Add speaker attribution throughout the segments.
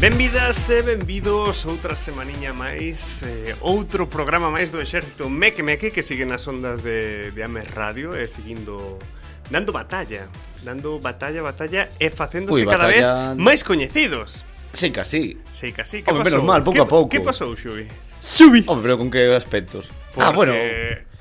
Speaker 1: Benvidas e benvidos outra semaniña máis eh, Outro programa máis do Exército Meque Meque Que sigue nas ondas de, de Ames Radio E eh, seguindo Dando batalla Dando batalla, batalla E facéndose
Speaker 2: Ui,
Speaker 1: cada vez
Speaker 2: batalla-
Speaker 1: máis coñecidos
Speaker 2: Sí, casi.
Speaker 1: Sei que así, que
Speaker 2: Home, menos mal, pouco
Speaker 1: que,
Speaker 2: a pouco.
Speaker 1: Que pasou, Xubi?
Speaker 2: Subi. Hombre, pero con que aspectos.
Speaker 1: Porque
Speaker 2: Ah, bueno.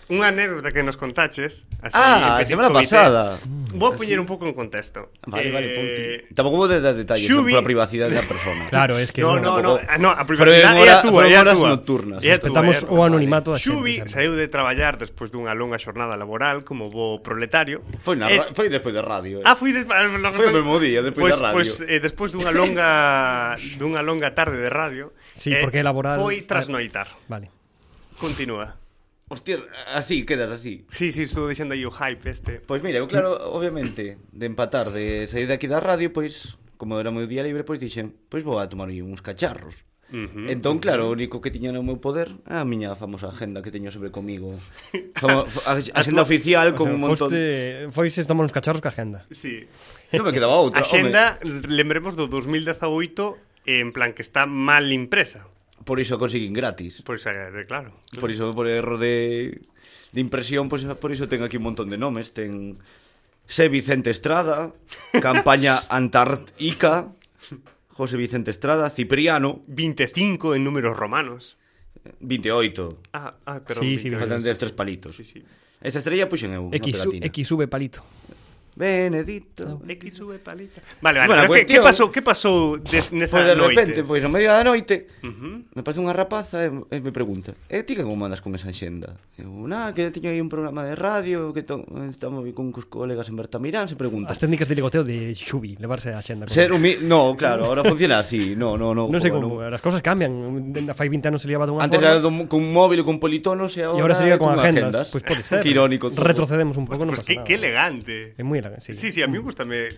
Speaker 1: Unha anécdota que nos contaches así,
Speaker 2: Ah,
Speaker 1: en
Speaker 2: a
Speaker 1: petit
Speaker 2: semana
Speaker 1: comité.
Speaker 2: pasada.
Speaker 1: Vou a poñer un pouco en contexto
Speaker 2: Vale,
Speaker 1: Mm.
Speaker 2: vale,
Speaker 1: Eh,
Speaker 2: punti. Tampouco vou dar detalles
Speaker 1: Xubi-
Speaker 2: Xubi... pola privacidade da persona.
Speaker 3: Claro, es que
Speaker 1: no,
Speaker 3: bueno,
Speaker 1: no, no,
Speaker 2: tampouco.
Speaker 1: ah, no, a
Speaker 2: Pero é
Speaker 1: privacidade é a
Speaker 2: hora-
Speaker 1: túa, é
Speaker 2: foron
Speaker 1: a
Speaker 2: horas
Speaker 1: túa.
Speaker 2: nocturnas,
Speaker 1: É a túa,
Speaker 3: respetamos
Speaker 1: é a túa,
Speaker 3: o anonimato
Speaker 1: vale.
Speaker 3: da
Speaker 1: Xubi
Speaker 3: xente,
Speaker 1: saiu de traballar despois dunha longa xornada laboral como bo proletario.
Speaker 2: Foi, na,
Speaker 1: Eh,
Speaker 2: ra- foi despois da radio. eh.
Speaker 1: Ah, foi despois
Speaker 2: Foi o mesmo día, despois da radio.
Speaker 1: Pois eh, despois dunha longa dunha longa tarde de radio. eh,
Speaker 3: Sí, porque é laboral-
Speaker 1: Foi trasnoitar.
Speaker 3: Vale.
Speaker 1: Continúa.
Speaker 2: Hostia, así, quedas así.
Speaker 1: Sí, sí, estou dixendo aí o hype este.
Speaker 2: Pois mira, eu claro, obviamente, de empatar, de sair daqui da radio, pois, como era o meu día libre, pois dixen, pois vou a tomar aí uns cacharros. Uh -huh, entón, claro, o único que tiña no meu poder é a miña famosa agenda que teño sobre comigo. Famo, a, a agenda oficial
Speaker 3: O
Speaker 2: con
Speaker 3: sea,
Speaker 2: un montón...
Speaker 3: foste, foises tomar uns cacharros que agenda.
Speaker 1: Sí.
Speaker 2: Non me quedaba outra,
Speaker 1: Axenda, lembremos do 2018 en plan que está mal impresa.
Speaker 2: home. Por iso a conseguín gratis.
Speaker 1: Pois é, claro.
Speaker 2: Por iso, por erro de, de impresión, pois, por iso ten aquí un montón de nomes. Ten Sé Vicente Estrada, Campaña Antártica, José Vicente Estrada, Cipriano,
Speaker 1: 25 en números romanos.
Speaker 2: 28.
Speaker 1: Ah, ah, perdón.
Speaker 3: Sí, sí,
Speaker 1: Victoria.
Speaker 2: Faltan de tres palitos.
Speaker 1: Sí, sí.
Speaker 2: Esta estrella puxen eu,
Speaker 3: X,
Speaker 2: X,
Speaker 3: su-
Speaker 2: pegatina.
Speaker 3: X sube palito.
Speaker 2: Benedito.
Speaker 1: X sube palita. Vale, vale.
Speaker 2: Bueno,
Speaker 1: pero
Speaker 2: pues,
Speaker 1: que,
Speaker 2: tío,
Speaker 1: que pasou, que pasou des, nesa
Speaker 2: Pois de
Speaker 1: noite?
Speaker 2: repente, pues, pois no medio da noite,
Speaker 1: Ujú.
Speaker 2: me parece unha rapaza e, e me pregunta, e ti que como andas con esa xenda? Eu, na, que teño aí un programa de radio, que to... estamos aí con cos colegas en Bertamirán, se pregunta.
Speaker 3: As técnicas de ligoteo de Xubi, levarse a xenda. con-
Speaker 2: Ser humi... No, claro, ahora funciona así. No, no, no.
Speaker 3: non sei
Speaker 2: Bueno,
Speaker 3: como, as cousas cambian. Fai 20 anos se liaba dunha
Speaker 2: Antes
Speaker 3: forma.
Speaker 2: era dun- con un móvil e con politonos e
Speaker 3: E
Speaker 2: ahora,
Speaker 3: ahora se liga con
Speaker 2: con
Speaker 3: agendas. Pois pode ser.
Speaker 2: Que irónico todo.
Speaker 3: Retrocedemos un pouco,
Speaker 1: Hostia,
Speaker 3: non
Speaker 1: pues
Speaker 3: pasa
Speaker 1: que,
Speaker 3: nada.
Speaker 1: que elegante.
Speaker 3: É moi elegante, sí.
Speaker 1: Sí, sí, a mí me gusta, me,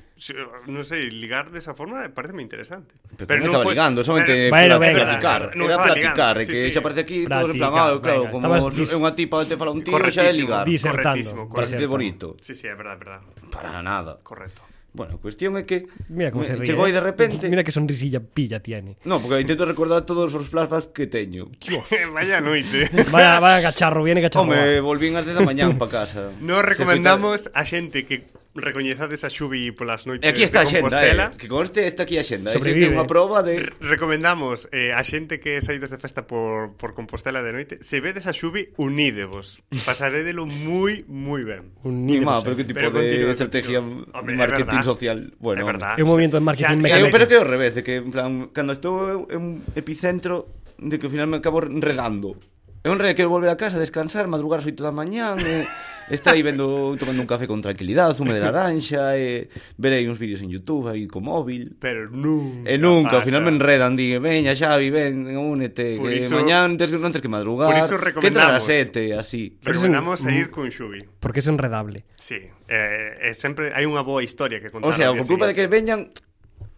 Speaker 1: no sé, ligar de esa forma parece muy interesante.
Speaker 2: Pero, pero non estaba ligando, solamente bueno,
Speaker 3: Bueno, venga.
Speaker 2: platicar.
Speaker 1: Non
Speaker 2: era
Speaker 1: estaba
Speaker 2: platicar,
Speaker 1: ligando,
Speaker 2: que
Speaker 1: sí, sí.
Speaker 2: xa aparece aquí todo en plan,
Speaker 3: Platicar,
Speaker 2: ah, claro,
Speaker 3: venga,
Speaker 2: como
Speaker 3: estabas dis-
Speaker 2: é unha tipa te fala un tiro, xa é ligar.
Speaker 3: Dis- Disertando.
Speaker 1: correctísimo, correcto.
Speaker 2: Parece
Speaker 3: Correctísimo.
Speaker 2: bonito.
Speaker 1: Sí, sí, es verdad, es verdad.
Speaker 2: Para nada.
Speaker 1: Correcto.
Speaker 2: Bueno, a cuestión é que
Speaker 3: Mira como
Speaker 2: me-
Speaker 3: se ríe.
Speaker 2: chegou aí
Speaker 3: eh.
Speaker 2: de repente.
Speaker 3: Mira que sonrisilla pilla tiene.
Speaker 2: No, porque intento recordar todos os flashbacks que teño.
Speaker 1: Vaya noite.
Speaker 3: Vaya, vaya cacharro, viene cacharro.
Speaker 2: Home, volvín antes da mañán pa casa.
Speaker 1: Nos
Speaker 2: Se
Speaker 1: recomendamos a xente que recoñezades a Xubi polas noites
Speaker 2: escoita- E aquí está a
Speaker 1: de
Speaker 2: xenda,
Speaker 1: Compostela.
Speaker 2: eh, que conste, está aquí a xenda. Sobrevive. É
Speaker 3: Sobrevive. eh.
Speaker 2: unha proba de...
Speaker 1: Re- Eh, Recomendamos eh, a xente que saídes de festa por, por Compostela de noite Se vedes a Xubi, unídevos Pasarédelo moi, moi ben
Speaker 3: Un
Speaker 2: Ni
Speaker 3: niño,
Speaker 2: má,
Speaker 3: no sé.
Speaker 2: pero que tipo
Speaker 1: Pero
Speaker 2: de
Speaker 1: continúa,
Speaker 2: estrategia
Speaker 1: continúa. Hombre,
Speaker 2: de
Speaker 1: é
Speaker 2: marketing
Speaker 1: verdad.
Speaker 2: social. Bueno,
Speaker 1: É verdad
Speaker 3: É un movimento de marketing
Speaker 1: Xa-
Speaker 2: Sí,
Speaker 1: xa-
Speaker 3: mecánico.
Speaker 2: eu pero que é o revés, de que en plan, cando estou eu é un epicentro de que ao final me acabo enredando. É un rei que quero volver a casa, descansar, madrugar ás 8 da mañán, e eh, estar aí vendo, tomando un café con tranquilidade, zume de laranxa, e ver aí uns vídeos en Youtube, aí co móvil.
Speaker 1: Pero nunca
Speaker 2: E nunca, ao
Speaker 1: pasa.
Speaker 2: final me enredan, digue, veña Xavi, ven, únete,
Speaker 1: Por
Speaker 2: que
Speaker 1: iso-
Speaker 2: mañán tes, non tes que madrugar,
Speaker 1: por iso
Speaker 2: que entrar
Speaker 1: recomendamos.
Speaker 2: a sete, así.
Speaker 1: Recomendamos a ir con Xubi
Speaker 3: Porque es enredable.
Speaker 1: Sí, eh, eh, sempre hai unha boa historia que contar
Speaker 2: O sea,
Speaker 1: ao
Speaker 2: por
Speaker 1: día
Speaker 2: culpa de que
Speaker 1: siguiente.
Speaker 2: veñan,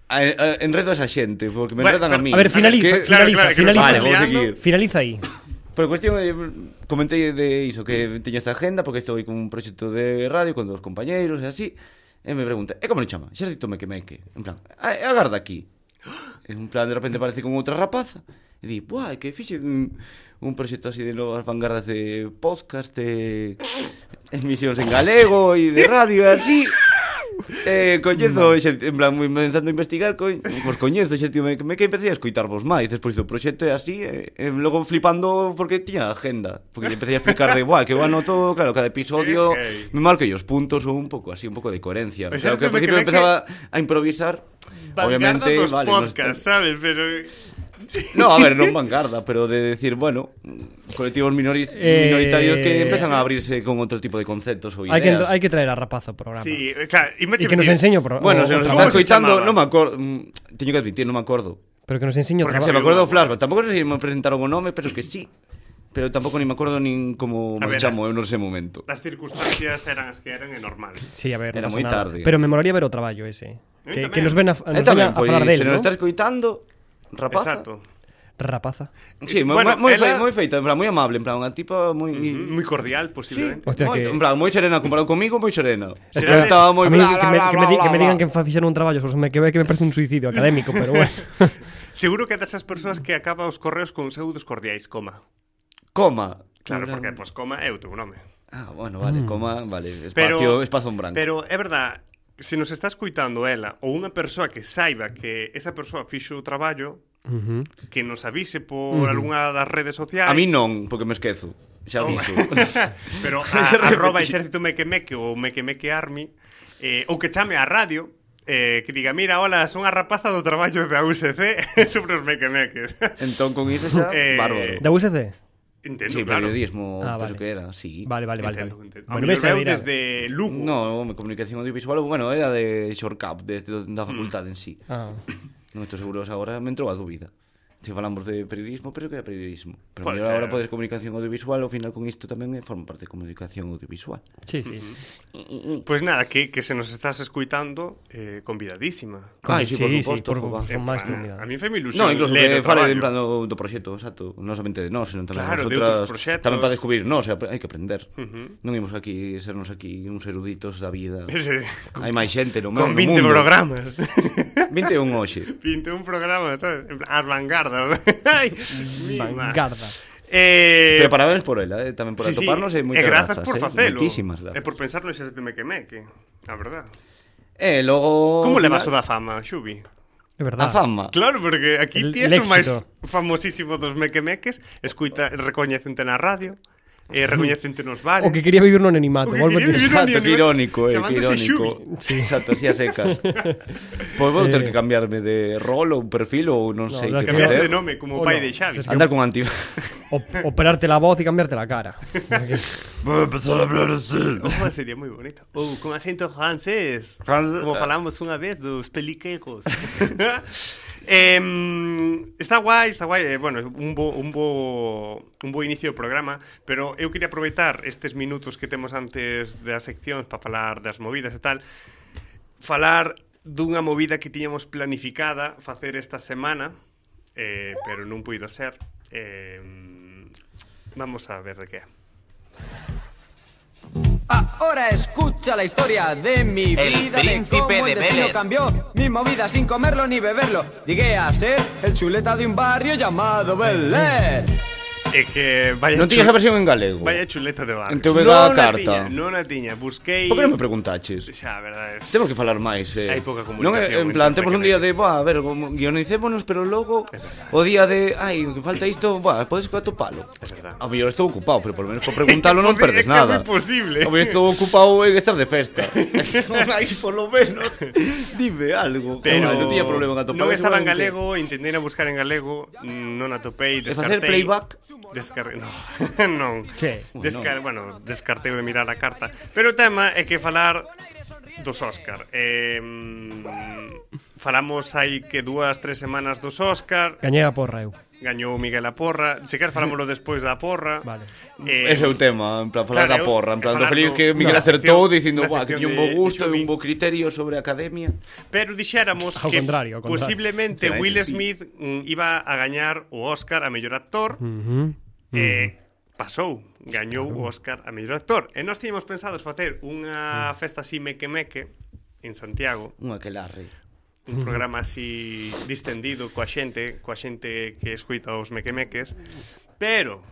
Speaker 2: a- a- enredo a esa xente, porque me
Speaker 1: Bueno,
Speaker 2: enredan a
Speaker 1: pero-
Speaker 2: mí.
Speaker 3: A ver, finaliza,
Speaker 2: Que-
Speaker 1: Claro,
Speaker 3: finaliza,
Speaker 1: claro, que
Speaker 3: finaliza.
Speaker 1: nos
Speaker 2: Vale, vou
Speaker 1: liando.
Speaker 2: seguir.
Speaker 3: Finaliza aí.
Speaker 2: Pero a cuestión, eh, comentei de iso, que teño esta agenda porque estou aí con un proxecto de radio con dos compañeiros e así, e me pregunta, e como le chama? Xerxito meque meque. En plan, "A- e agarda aquí. En plan, de repente aparece con outra rapaza, e di, buah, é que fixe un, un proxecto así de novas vanguardas de podcast, de emisións en galego e de radio e así. Eh, coñezo, xente, en plan, moi empezando a investigar, co, pois coñezo, xente, me, me que empecé a escoitarvos máis despois do proxecto e así, e, e logo flipando porque tiña agenda, porque lle empecé a explicar de, guau, que eu anoto, claro, cada episodio,
Speaker 1: Ejei.
Speaker 2: me marco yo os puntos ou un pouco así, un pouco de coherencia.
Speaker 1: Pois
Speaker 2: Claro
Speaker 1: xa
Speaker 2: que ao
Speaker 1: me
Speaker 2: principio
Speaker 1: quedé que-
Speaker 2: empezaba a improvisar,
Speaker 1: Vanguarda
Speaker 2: obviamente,
Speaker 1: dos
Speaker 2: vale, non
Speaker 1: podcast,
Speaker 2: está-
Speaker 1: sabes? Pero...
Speaker 2: No, a ver, non vanguarda, pero de decir, bueno, colectivos minoris,
Speaker 3: Eh,
Speaker 2: minoritarios que empezan
Speaker 3: sí.
Speaker 2: a abrirse con outro tipo de conceptos ou ideas.
Speaker 3: Hay que, hay que traer a rapazo ao programa.
Speaker 1: Sí, o sea,
Speaker 3: E que nos enseñe o pro-
Speaker 2: Bueno,
Speaker 3: o-
Speaker 2: se
Speaker 3: o
Speaker 2: nos
Speaker 1: ¿Cómo
Speaker 2: está
Speaker 3: trabajo.
Speaker 1: se
Speaker 2: escoitando,
Speaker 1: llamaba?
Speaker 2: non me acordo, mm, teño que admitir, non me acordo.
Speaker 3: Pero que nos enseñe o
Speaker 1: Porque
Speaker 2: Se
Speaker 3: trabajo.
Speaker 2: me acordo
Speaker 1: Pero
Speaker 2: do flashback, tampouco sei se me presentaron o nome, pero que sí. Pero tampouco ni me acordo nin como
Speaker 1: A
Speaker 2: me
Speaker 1: ver,
Speaker 2: chamo eu nese momento.
Speaker 1: Las circunstancias eran as que eran e normal
Speaker 3: Sí, a ver,
Speaker 2: Era
Speaker 3: no pasa
Speaker 2: moi
Speaker 3: nada.
Speaker 2: tarde.
Speaker 3: Pero me molaría ver o traballo ese.
Speaker 1: mí
Speaker 3: Que,
Speaker 1: tamén.
Speaker 3: que nos ven a, nos
Speaker 2: E
Speaker 3: ven
Speaker 2: tamén,
Speaker 3: a
Speaker 2: pois,
Speaker 3: falar del,
Speaker 2: se nos
Speaker 3: ¿no?
Speaker 2: está escoitando, rapaza,
Speaker 1: Exacto
Speaker 3: Rapaza.
Speaker 2: Sí, moi,
Speaker 1: Bueno,
Speaker 2: bueno, moi,
Speaker 1: ela-
Speaker 2: ela... moi feita, en plan, moi amable, en plan, unha tipa moi... Mm -hmm.
Speaker 1: Muy cordial, posiblemente.
Speaker 3: Hostia,
Speaker 2: moi,
Speaker 3: que-
Speaker 2: En plan, moi serena comparado comigo, moi serena.
Speaker 1: Es
Speaker 2: Es
Speaker 1: que-
Speaker 2: que estaba moi...
Speaker 3: a mí
Speaker 2: bla,
Speaker 3: que,
Speaker 2: bla,
Speaker 3: me,
Speaker 2: bla,
Speaker 3: que me di-
Speaker 2: bla,
Speaker 3: que me
Speaker 2: bla,
Speaker 3: digan que
Speaker 2: bla.
Speaker 3: fixeron un traballo, só me que ve que me parece un suicidio académico, pero bueno.
Speaker 1: Seguro que é desas persoas que acaba os correos con pseudos cordiais, coma.
Speaker 2: Coma.
Speaker 1: Claro,
Speaker 2: En plan-
Speaker 1: porque, pois, pues, coma é o teu nome.
Speaker 2: Ah, bueno, vale, mm. coma, vale. Espacio,
Speaker 1: Pero-
Speaker 2: pero, espazo en branco.
Speaker 1: Pero é verdad, se nos está escuitando ela ou unha persoa que saiba que esa persoa fixo o traballo,
Speaker 3: Ujú.
Speaker 1: que nos avise por uh -huh. algunha das redes sociais.
Speaker 2: A mí non, porque me esquezo. Xa
Speaker 1: Toma.
Speaker 2: aviso.
Speaker 1: Pero a, arroba exército mequemeque ou mequemeque army eh, ou que chame á radio eh, que diga, mira, hola, son a rapaza do traballo da USC sobre os mequemeques.
Speaker 2: entón, con iso xa,
Speaker 1: Eh,
Speaker 2: eh... bárbaro.
Speaker 3: Da USC?
Speaker 1: Entendo,
Speaker 2: Sí,
Speaker 1: claro.
Speaker 2: periodismo,
Speaker 3: Ah,
Speaker 2: ah, vale.
Speaker 3: vale.
Speaker 2: que era, sí.
Speaker 3: Vale, vale, vale.
Speaker 1: Entendo,
Speaker 3: vale.
Speaker 1: entendo.
Speaker 3: Bueno,
Speaker 1: Ao
Speaker 3: ves
Speaker 1: mellor
Speaker 3: a
Speaker 1: veu
Speaker 3: dir algo.
Speaker 1: desde Lugo.
Speaker 2: No, me comunicación audiovisual, bueno, era de shortcap, de, de,
Speaker 1: Mm.
Speaker 2: da facultade en sí.
Speaker 3: Ah.
Speaker 2: Non estou seguro, agora me entrou a dúbida. Se falamos de periodismo, pero que é periodismo. Pero
Speaker 1: Pode ser.
Speaker 2: mellor agora podes comunicación audiovisual, ao final con isto tamén eh, forma parte de comunicación audiovisual.
Speaker 3: Sí, sí.
Speaker 1: Pois nada, que, que se nos estás escuitando, eh, convidadísima.
Speaker 2: Ah, sí, por suposto,
Speaker 3: por,
Speaker 2: joba.
Speaker 3: por máis
Speaker 1: Eh,
Speaker 3: que
Speaker 1: a
Speaker 3: unidade.
Speaker 1: mí feme ilusión
Speaker 2: No, incluso
Speaker 1: ler o
Speaker 2: que fale
Speaker 1: traballo.
Speaker 2: en plan do, do proxecto, exacto, non somente de nós, senón tamén
Speaker 1: Claro,
Speaker 2: das
Speaker 1: de outros
Speaker 2: outras-
Speaker 1: proxectos.
Speaker 2: tamén para descubrir, nós, e apre- hai que aprender.
Speaker 1: Ujú.
Speaker 2: Non imos aquí sernos aquí uns eruditos da vida.
Speaker 1: Ese-
Speaker 2: Hai máis xente no,
Speaker 1: Con
Speaker 2: no
Speaker 1: 20
Speaker 2: mundo.
Speaker 1: programas.
Speaker 2: 21 hoxe.
Speaker 1: 21 programas, ¿sabes? En plan, As vanguardas. Ai, mima.
Speaker 3: Vanguarda.
Speaker 1: Eh,
Speaker 2: Pero parabéns por ela, eh, tamén por atoparnos e
Speaker 1: e
Speaker 2: moitas
Speaker 1: grazas por
Speaker 2: eh,
Speaker 1: facelo.
Speaker 2: Moitísimas
Speaker 1: E
Speaker 2: grazas.
Speaker 1: por pensar no xerte mequemeque, a verdad.
Speaker 2: E logo...
Speaker 1: Como
Speaker 2: ao
Speaker 1: le vas o
Speaker 2: final,
Speaker 1: da fama, Xubi?
Speaker 3: É
Speaker 2: A
Speaker 3: verdade.
Speaker 2: fama.
Speaker 1: Claro, porque aquí
Speaker 3: El-
Speaker 1: ti
Speaker 3: el
Speaker 1: és o máis
Speaker 3: éxito.
Speaker 1: famosísimo dos mequemeques, escuita, recoñecente na radio, eh, recoñecente nos bares.
Speaker 3: O que quería vivir no
Speaker 1: O
Speaker 3: anonimato,
Speaker 1: que
Speaker 3: volvo a
Speaker 1: quería
Speaker 3: ti.
Speaker 1: vivir no
Speaker 2: Exacto, que irónico, eh, que
Speaker 1: Chamándose
Speaker 2: irónico. Sí. Exacto, así a secas. pois vou ter que cambiarme de rol ou perfil ou non
Speaker 3: No,
Speaker 2: sei
Speaker 3: habrá
Speaker 2: que
Speaker 3: que
Speaker 1: Cambiaste de
Speaker 2: facer.
Speaker 1: nome como
Speaker 3: Hola.
Speaker 1: pai de Xavi.
Speaker 3: Pues Es que-
Speaker 2: Andar con anti...
Speaker 3: O- operarte la voz e cambiarte la cara.
Speaker 2: Vou empezar a hablar así.
Speaker 1: Ojo, sería moi bonito. Ou con acento francés.
Speaker 2: Francés. eh.
Speaker 1: Como falamos unha vez dos peliquejos. Em, está guai, está guai, eh, bueno, un bo, un bo un bo inicio do programa, pero eu queria aproveitar estes minutos que temos antes das seccións para falar das movidas e tal, falar dunha movida que tiñamos planificada facer esta semana, eh, pero non puido ser. Em, vamos a ver de que é.
Speaker 4: Ahora escucha la historia de mi
Speaker 5: El
Speaker 4: vida, de
Speaker 5: príncipe
Speaker 4: cómo el
Speaker 5: de
Speaker 4: destino
Speaker 5: Bel-Air.
Speaker 4: cambió mi movida sin comerlo ni beberlo. Llegué a ser el chuleta de un barrio llamado Bel Air.
Speaker 1: É que vaya
Speaker 2: Non tiñas
Speaker 1: chu-
Speaker 2: a versión en galego.
Speaker 1: Vaya chuleta de barrio.
Speaker 2: En TV da
Speaker 1: non a
Speaker 2: carta.
Speaker 1: tiña, non a tiña. Busquei...
Speaker 2: Por que non me preguntaches?
Speaker 1: Xa, a verdade. es-
Speaker 2: Temos que falar máis, eh.
Speaker 1: Hai pouca comunicación
Speaker 2: Non, é- en
Speaker 1: entre os
Speaker 2: plan, temos un día de, "Buah, a ver, como guionicémonos, pero logo o día de, ai, que falta isto, buah, podes que atopalo.
Speaker 1: É verdad.
Speaker 2: A mellor estou ocupado, Ah, pero por lo menos para preguntalo non
Speaker 1: É
Speaker 2: perdes
Speaker 1: que é
Speaker 2: nada.
Speaker 1: moi posible.
Speaker 2: A mellor estou ocupado en estar de festa. Ai, por lo menos, dime algo.
Speaker 1: Pero
Speaker 2: Joder, non tiña problema en atopalo.
Speaker 1: non estaba en
Speaker 2: seguramente.
Speaker 1: galego, intentei a buscar en galego, mm, non atopei,
Speaker 2: E
Speaker 1: descartei.
Speaker 2: facer playback?
Speaker 1: Descartei, no, non.
Speaker 3: Che.
Speaker 1: Descar, bueno, descartei o de mirar a carta. Pero o tema é que falar dos Óscar. Eh, mm, falamos hai que dúas, tres semanas dos Óscar,
Speaker 3: Gañei a porra eu.
Speaker 1: gañou Miguel a porra, se quer falámoslo despois da porra.
Speaker 3: Vale.
Speaker 1: Eh,
Speaker 2: Ese é o tema, en plan, falar
Speaker 1: Claro,
Speaker 2: da porra, en plan, do
Speaker 1: falar do-
Speaker 2: feliz que Miguel
Speaker 1: da
Speaker 2: acertou,
Speaker 1: sección-
Speaker 2: dicindo,
Speaker 1: da
Speaker 2: guau, que
Speaker 1: sección
Speaker 2: tiña un
Speaker 1: de-
Speaker 2: bo gusto
Speaker 1: de
Speaker 2: e
Speaker 1: Xumi".
Speaker 2: un bo criterio sobre a academia.
Speaker 1: Pero dixéramos
Speaker 3: Ao
Speaker 1: que
Speaker 3: contrario, ao contrario.
Speaker 1: posiblemente
Speaker 2: Será
Speaker 1: Will
Speaker 2: MVP.
Speaker 1: Smith mm, iba a gañar o Oscar a mellor actor.
Speaker 3: Mm. Ujú. Mm.
Speaker 1: Eh, pasou, gañou o Oscar a mellor actor. E nós tiñamos pensados facer unha
Speaker 3: Mm.
Speaker 1: festa así meque-meque en Santiago,
Speaker 2: Un aquelarre.
Speaker 1: un
Speaker 3: Mm-hmm.
Speaker 1: programa así distendido coa xente, coa xente que escuita os mequemeques, pero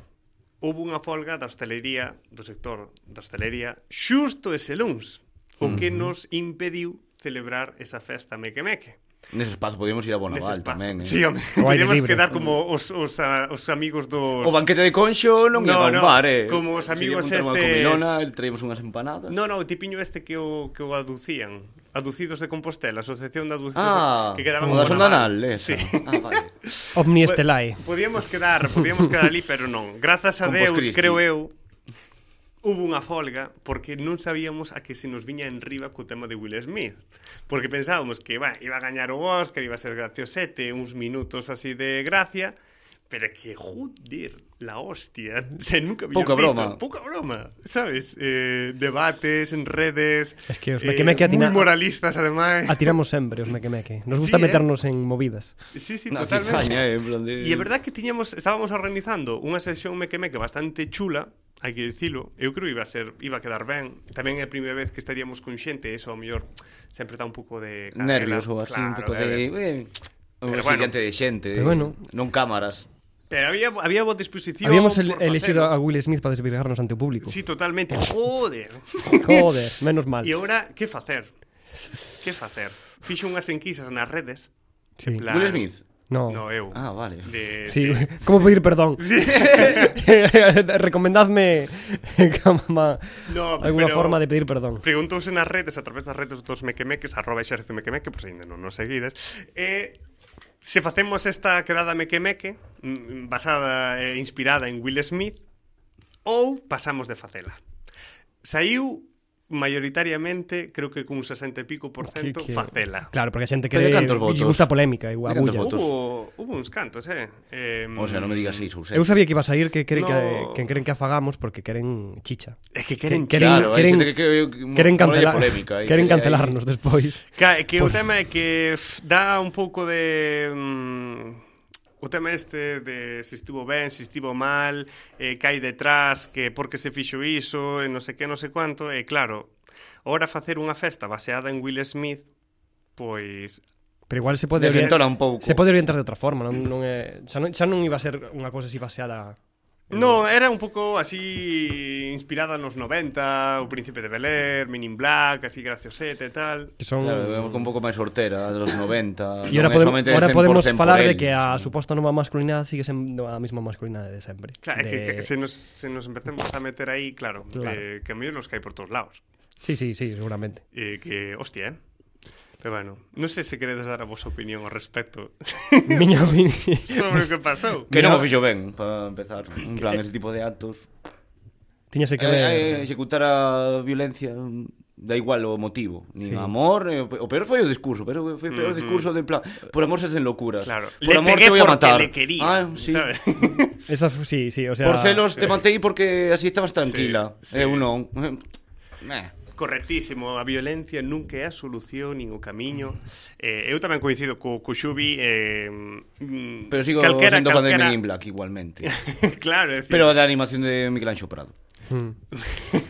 Speaker 1: houve unha folga da hostelería, do sector da hostelería, xusto ese luns, o
Speaker 3: Mm-hmm.
Speaker 1: que nos impediu celebrar esa festa mequemeque.
Speaker 2: Nese espazo podíamos ir a
Speaker 1: Nese
Speaker 2: Bonaval
Speaker 1: espazo.
Speaker 2: tamén, eh.
Speaker 1: Sí, home,
Speaker 3: O aire
Speaker 1: podíamos
Speaker 3: libre.
Speaker 1: quedar como os, os, a, os amigos dos...
Speaker 2: O banquete de Conxo non
Speaker 1: No,
Speaker 2: no, era
Speaker 1: no,
Speaker 2: un bar, eh.
Speaker 1: como os amigos
Speaker 2: Seguíamos unha
Speaker 1: estes-
Speaker 2: comilona, traímos unhas empanadas.
Speaker 1: No, no, o tipiño este que o, que o aducían. Aducidos de Compostela, a Asociación de Aducidos
Speaker 2: ah,
Speaker 1: de- que quedaban
Speaker 2: o
Speaker 1: en
Speaker 2: da sonda
Speaker 1: Bonaval.
Speaker 2: anal, esa.
Speaker 1: Sí.
Speaker 2: Ah, vale.
Speaker 3: Omni Estelae.
Speaker 1: Podíamos quedar, podíamos quedar ali, pero non. Grazas a
Speaker 2: Con
Speaker 1: Deus,
Speaker 2: Poscristi.
Speaker 1: creo eu, hubo unha folga porque non sabíamos a que se nos viña en riba co tema de Will Smith. Porque pensábamos que bah, iba a gañar o Oscar, iba a ser graciosete, uns minutos así de gracia, Pero é que, joder, la hostia. O sea, nunca vi
Speaker 2: Pouca
Speaker 1: un dito,
Speaker 2: broma.
Speaker 1: Pouca broma, ¿sabes? Eh, debates en redes. eh,
Speaker 3: Es que os mequemeque
Speaker 1: Muy
Speaker 3: atina-
Speaker 1: moralistas, además.
Speaker 3: Atiramos Ah, sempre os mequemeque. Nos
Speaker 1: Sí,
Speaker 3: gusta
Speaker 1: eh.
Speaker 3: meternos en movidas.
Speaker 1: Sí, sí,
Speaker 2: Una
Speaker 1: totalmente.
Speaker 2: cizaña, eh, en plan de...
Speaker 1: E é verdad que tiñamos estábamos organizando unha sesión meque meque bastante chula, hai que dicilo. Eu creo que iba a ser iba a quedar ben. Tamén é a primeira vez que estaríamos con xente, e eso ao mellor sempre dá un pouco de carrela.
Speaker 2: Nervios ou así, un
Speaker 1: Claro,
Speaker 2: pouco de... eh, Un
Speaker 1: Pero
Speaker 2: sillante
Speaker 1: bueno.
Speaker 2: de xente,
Speaker 3: Pero bueno.
Speaker 2: non cámaras.
Speaker 1: Pero había había boa disposición.
Speaker 3: Habíamos
Speaker 1: por
Speaker 3: el-
Speaker 1: facelo.
Speaker 3: elegido a Will Smith para desvirgarnos ante o público.
Speaker 1: Sí, totalmente. Joder.
Speaker 3: Joder, menos mal.
Speaker 1: E agora que facer? Que facer? Fixo unhas enquisas nas redes.
Speaker 3: Sí.
Speaker 1: Plan-
Speaker 2: Will Smith.
Speaker 3: No.
Speaker 1: No, eh, eu.
Speaker 2: Ah, vale.
Speaker 1: De,
Speaker 3: Sí,
Speaker 1: de-
Speaker 3: como pedir perdón? Recomendadme cama,
Speaker 1: No,
Speaker 3: alguna
Speaker 1: pero-
Speaker 3: forma de pedir perdón.
Speaker 1: Preguntouse nas redes, a través das redes dos mequemeques, arroba exército mequemeque, pois ainda non nos seguides, e se facemos esta quedada mequemeque, mm, basada e inspirada en Will Smith, ou pasamos de facela. Saiu maioritariamente, creo que cun 60 e pico por cento,
Speaker 3: Que- que-
Speaker 1: facela.
Speaker 3: Claro, porque a xente que
Speaker 2: Pero cantos votos?
Speaker 3: lle gusta a polémica, igual
Speaker 2: Pero cantos
Speaker 3: bulla.
Speaker 2: votos?
Speaker 1: Hubo, hubo uns cantos, eh? eh
Speaker 2: O sea, non me
Speaker 3: Mm.
Speaker 2: digas seis ou sete.
Speaker 3: Eu sabía que iba a sair que queren
Speaker 1: No.
Speaker 3: que, que queren que afagamos porque queren chicha.
Speaker 1: É que queren
Speaker 3: que-
Speaker 1: que,
Speaker 2: Claro, hai
Speaker 3: queren-
Speaker 2: xente que, que, que,
Speaker 3: Queren cancelar,
Speaker 2: polémica, aí,
Speaker 3: queren
Speaker 2: que hai-
Speaker 3: cancelarnos despois.
Speaker 1: Que, que o tema é que f, dá un pouco de... mm, o tema este de se estivo ben, se estivo mal, eh, que hai detrás, que por que se fixo iso, e non sei que, non sei quanto, e claro, ora facer unha festa baseada en Will Smith, pois...
Speaker 3: Pero igual se pode
Speaker 2: Desentona un pouco.
Speaker 3: se pode orientar de outra forma, non, non é, xa, non, xa non iba a ser unha cousa así baseada
Speaker 1: No, era un pouco así inspirada nos 90, o Príncipe de Bel-Air, Men in Black, así graciosete e tal.
Speaker 3: que son
Speaker 2: Claro, vemos con un pouco máis hortera, dos 90. non
Speaker 3: E Mm. ahora
Speaker 2: é
Speaker 3: podemos,
Speaker 2: somente de
Speaker 3: ahora
Speaker 2: 100%
Speaker 3: podemos
Speaker 2: por
Speaker 3: falar de
Speaker 2: el,
Speaker 3: que a
Speaker 2: sí.
Speaker 3: suposta nova masculinidade sigue sendo a mesma masculinidade de sempre.
Speaker 1: Claro, é
Speaker 3: de...
Speaker 1: que, que se, nos, se nos empecemos a meter aí, claro,
Speaker 3: Claro.
Speaker 1: Eh, que a mellor nos cae por todos lados.
Speaker 3: Sí, sí, sí, seguramente.
Speaker 1: Eh, que, hostia, eh? Pero bueno, non sei se queredes dar a vosa opinión ao respecto
Speaker 3: Miña opinión.
Speaker 1: sobre o que pasou.
Speaker 2: Que
Speaker 3: Mira-
Speaker 2: non o fixo ben, para empezar. En plan, ese tipo de actos.
Speaker 3: Tiñase que ver.
Speaker 2: Eh, eh, executar a violencia mm, da igual o motivo, nin sí.
Speaker 3: Sí.
Speaker 2: amor, eh, o pe- o peor foi o discurso, pero foi o peor discurso de en plan, por amor se hacen locuras.
Speaker 1: Claro, le
Speaker 2: Por amor
Speaker 1: pegué
Speaker 2: te voy a
Speaker 1: porque
Speaker 2: matar.
Speaker 1: le quería,
Speaker 2: Ah, sí.
Speaker 1: ¿sabes?
Speaker 3: Esa fu- sí, sí, o sea,
Speaker 2: Por celos te maté porque así estabas tranquila.
Speaker 1: Sí, sí.
Speaker 2: Eu non. Eh.
Speaker 1: Correctísimo, a violencia nunca é a solución nin o camiño. Eh, eu tamén coincido co, co Xubi eh, mm,
Speaker 2: Pero sigo
Speaker 1: calquera-
Speaker 2: sendo fan de
Speaker 1: calquera-
Speaker 2: Men in Black igualmente.
Speaker 1: claro, é dicir,
Speaker 2: pero a da animación de Michelangelo Prado.
Speaker 3: Mm.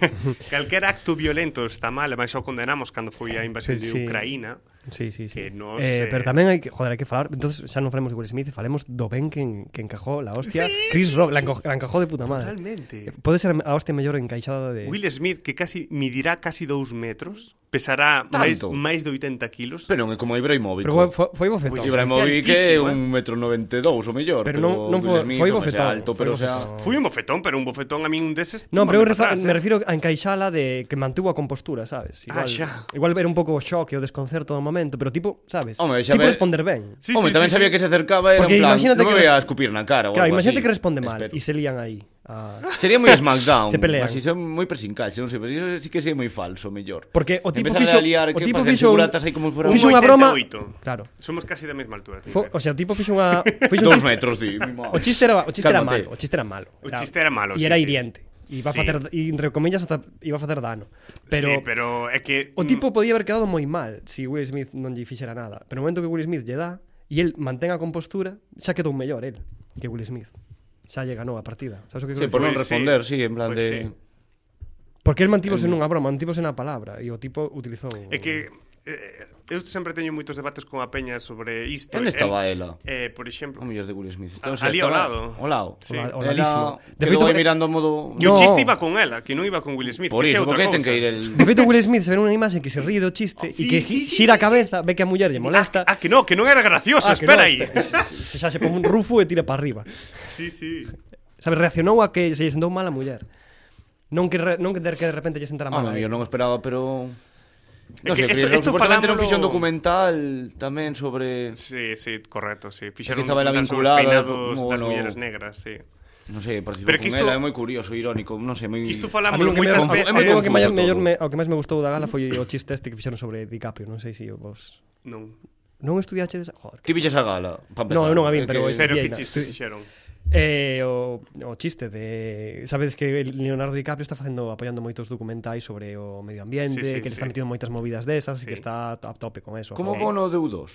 Speaker 1: calquera acto violento está mal, e máis o condenamos cando foi a invasión de
Speaker 3: Sí, sí.
Speaker 1: Ucraína.
Speaker 3: Sí, sí, sí.
Speaker 1: Que nos,
Speaker 3: eh,
Speaker 1: eh,
Speaker 3: Pero tamén hai que, joder, hai que falar, entonces xa non falemos de Will Smith, falemos do ben que, en- que encajó la hostia.
Speaker 1: Sí, sí,
Speaker 3: Chris Rock, la,
Speaker 1: sí.
Speaker 3: enco- la encajó de puta madre.
Speaker 1: Totalmente.
Speaker 3: Pode ser a hostia mellor encaixada de
Speaker 1: Will Smith, que casi midirá casi dous metros, pesará máis,
Speaker 2: Tanto.
Speaker 1: máis de 80 kilos.
Speaker 2: Pero non é como Ibrahimovic.
Speaker 3: Pero foi, foi bofetón.
Speaker 1: Will
Speaker 3: Pero,
Speaker 2: Ibrahimovic é
Speaker 1: Altísimo, eh.
Speaker 2: un metro noventa e dous, o mellor.
Speaker 3: pero non, non
Speaker 2: Will
Speaker 3: foi,
Speaker 2: Smith,
Speaker 3: foi
Speaker 2: o máis
Speaker 3: bofetón.
Speaker 2: alto, pero o sea...
Speaker 1: Fui un bofetón, pero un bofetón a min un deses.
Speaker 3: Oh. No, pero eu
Speaker 1: tómame
Speaker 3: refa-
Speaker 1: atrás,
Speaker 3: me
Speaker 1: eh.
Speaker 3: refiro a encaixala de que mantuvo a compostura, sabes?
Speaker 1: Ah,
Speaker 3: Igual,
Speaker 1: xa.
Speaker 3: igual era un pouco o choque, o desconcerto do momento, pero tipo, sabes?
Speaker 2: Home, xa
Speaker 3: sí
Speaker 2: ve-
Speaker 3: responder ben.
Speaker 1: Sí,
Speaker 2: Home,
Speaker 1: sí,
Speaker 2: tamén
Speaker 1: sí, sí.
Speaker 2: sabía que se acercaba era
Speaker 3: Porque
Speaker 2: en plan,
Speaker 3: imagínate
Speaker 2: non me
Speaker 3: que
Speaker 2: voy a
Speaker 3: res-
Speaker 2: escupir na cara ou
Speaker 3: Claro,
Speaker 2: algo
Speaker 3: imagínate
Speaker 2: así.
Speaker 3: que responde mal
Speaker 2: Espero.
Speaker 3: e se lían aí. Ah,
Speaker 2: Sería moi SmackDown,
Speaker 3: Se pelean.
Speaker 2: así son moi persincais, non sei, pero iso sí que é moi falso, mellor.
Speaker 3: Porque o tipo
Speaker 2: Empezar
Speaker 3: fixo,
Speaker 2: a liar,
Speaker 3: o
Speaker 2: que
Speaker 3: tipo
Speaker 2: parecen
Speaker 3: fixo, un-
Speaker 2: seguratas aí como fora
Speaker 1: Un
Speaker 3: fixo unha broma.
Speaker 1: 88.
Speaker 3: Claro.
Speaker 1: Somos casi da mesma altura. tío.
Speaker 3: Fo, o sea, o tipo fixo unha fixo un
Speaker 2: Dos
Speaker 3: chiste-
Speaker 2: metros, di.
Speaker 3: O chiste era, o chiste era
Speaker 2: Cálmate.
Speaker 3: malo, o chiste era malo.
Speaker 1: O chiste era malo,
Speaker 3: E
Speaker 1: sí,
Speaker 3: era
Speaker 1: sí.
Speaker 3: hiriente. E iba a
Speaker 1: Sí.
Speaker 3: facer, e entre comillas, ata iba a facer dano. Pero,
Speaker 1: sí, pero é que... mm,
Speaker 3: o tipo podía haber quedado moi mal se si Will Smith non lle fixera nada. Pero no momento que Will Smith lle dá e el mantén a compostura, xa quedou mellor el que Will Smith. Xa lle ganou a partida. Sabes o que
Speaker 2: Sí,
Speaker 3: quero
Speaker 2: por non
Speaker 3: dicir?
Speaker 1: Pois sí.
Speaker 2: responder, sí, en plan
Speaker 1: Pois sí.
Speaker 2: de...
Speaker 3: Porque el mantivose nunha broma, mantivose na palabra e o tipo utilizou...
Speaker 1: É que... eh, eu sempre teño moitos debates con a peña sobre isto.
Speaker 2: Onde
Speaker 1: Eh,
Speaker 2: estaba ela?
Speaker 1: Eh, por exemplo...
Speaker 2: O mellor de Will Smith.
Speaker 1: A- ali ao lado.
Speaker 2: Ao lado.
Speaker 1: Sí.
Speaker 3: Ola-
Speaker 2: Ela
Speaker 3: oladísimo. De
Speaker 2: quedou
Speaker 3: feito,
Speaker 2: aí
Speaker 3: eh,
Speaker 2: mirando a modo...
Speaker 1: E o
Speaker 3: No.
Speaker 1: chiste iba con ela, que non iba con Will Smith.
Speaker 2: Por
Speaker 1: que xa é
Speaker 2: iso,
Speaker 1: outra
Speaker 2: porque ten
Speaker 1: cousa.
Speaker 2: que ir el...
Speaker 3: De feito, Will Smith se ve nunha imaxe que se ríe do chiste e
Speaker 1: Sí,
Speaker 3: que
Speaker 1: sí, sí, sí,
Speaker 3: xira a cabeza, ve que a muller lle molesta.
Speaker 1: Ah, ah, que no, que non era gracioso,
Speaker 3: Ah, que
Speaker 1: espera
Speaker 3: non,
Speaker 1: aí.
Speaker 3: espe- se- se- Xa se pon un rufo e tira para arriba.
Speaker 1: sí, sí.
Speaker 3: Sabes, reaccionou a que se lle sentou mal a muller. Non que re, non que ter que de repente lle sentara
Speaker 1: Ah,
Speaker 3: mal.
Speaker 2: Home,
Speaker 3: a
Speaker 2: mellor
Speaker 3: él.
Speaker 2: non esperaba, pero...
Speaker 1: É
Speaker 2: Non
Speaker 1: que esto-
Speaker 2: sei, esto, esto
Speaker 1: esto
Speaker 2: supuestamente non
Speaker 1: falámolo-
Speaker 2: fixo un documental tamén sobre...
Speaker 1: Sí, sí, correcto, sí.
Speaker 2: que
Speaker 1: Fixeron
Speaker 2: estaba ela
Speaker 1: un sobre os
Speaker 2: vinculada,
Speaker 1: peinados
Speaker 2: como,
Speaker 1: das
Speaker 2: no-
Speaker 1: mulleres negras, sí.
Speaker 2: Non sei, participou
Speaker 1: Pero
Speaker 2: pero
Speaker 1: que
Speaker 2: que
Speaker 1: isto-
Speaker 2: ela, é moi curioso, irónico, non sei, moi...
Speaker 1: Que isto
Speaker 3: A mí
Speaker 1: falámoslo
Speaker 3: o que, me,
Speaker 1: moitas
Speaker 3: a,
Speaker 1: veces.
Speaker 3: a mí o que,
Speaker 2: confuso
Speaker 3: maior,
Speaker 2: todo.
Speaker 3: mellor me, o que máis me gustou da gala foi o chiste este que fixeron sobre DiCaprio, non sei se si vos
Speaker 1: Non.
Speaker 3: non estudiaches, joder.
Speaker 2: Ti viches a gala, pa empezar.
Speaker 3: No, eu non a
Speaker 2: É
Speaker 3: vin, pero
Speaker 2: que-
Speaker 3: este-
Speaker 1: Pero
Speaker 3: Bien,
Speaker 1: que
Speaker 3: no,
Speaker 1: chistes
Speaker 3: estoy-
Speaker 1: fixeron?
Speaker 3: Eh, o, o chiste de sabedes que Leonardo DiCaprio está facendo apoiando moitos documentais sobre o medio ambiente,
Speaker 1: Sí, sí,
Speaker 3: que le
Speaker 1: sí.
Speaker 3: está metiendo moitas movidas desas
Speaker 1: Sí.
Speaker 3: e que está a tope con eso.
Speaker 2: Como
Speaker 3: Sí.
Speaker 2: bono de U2.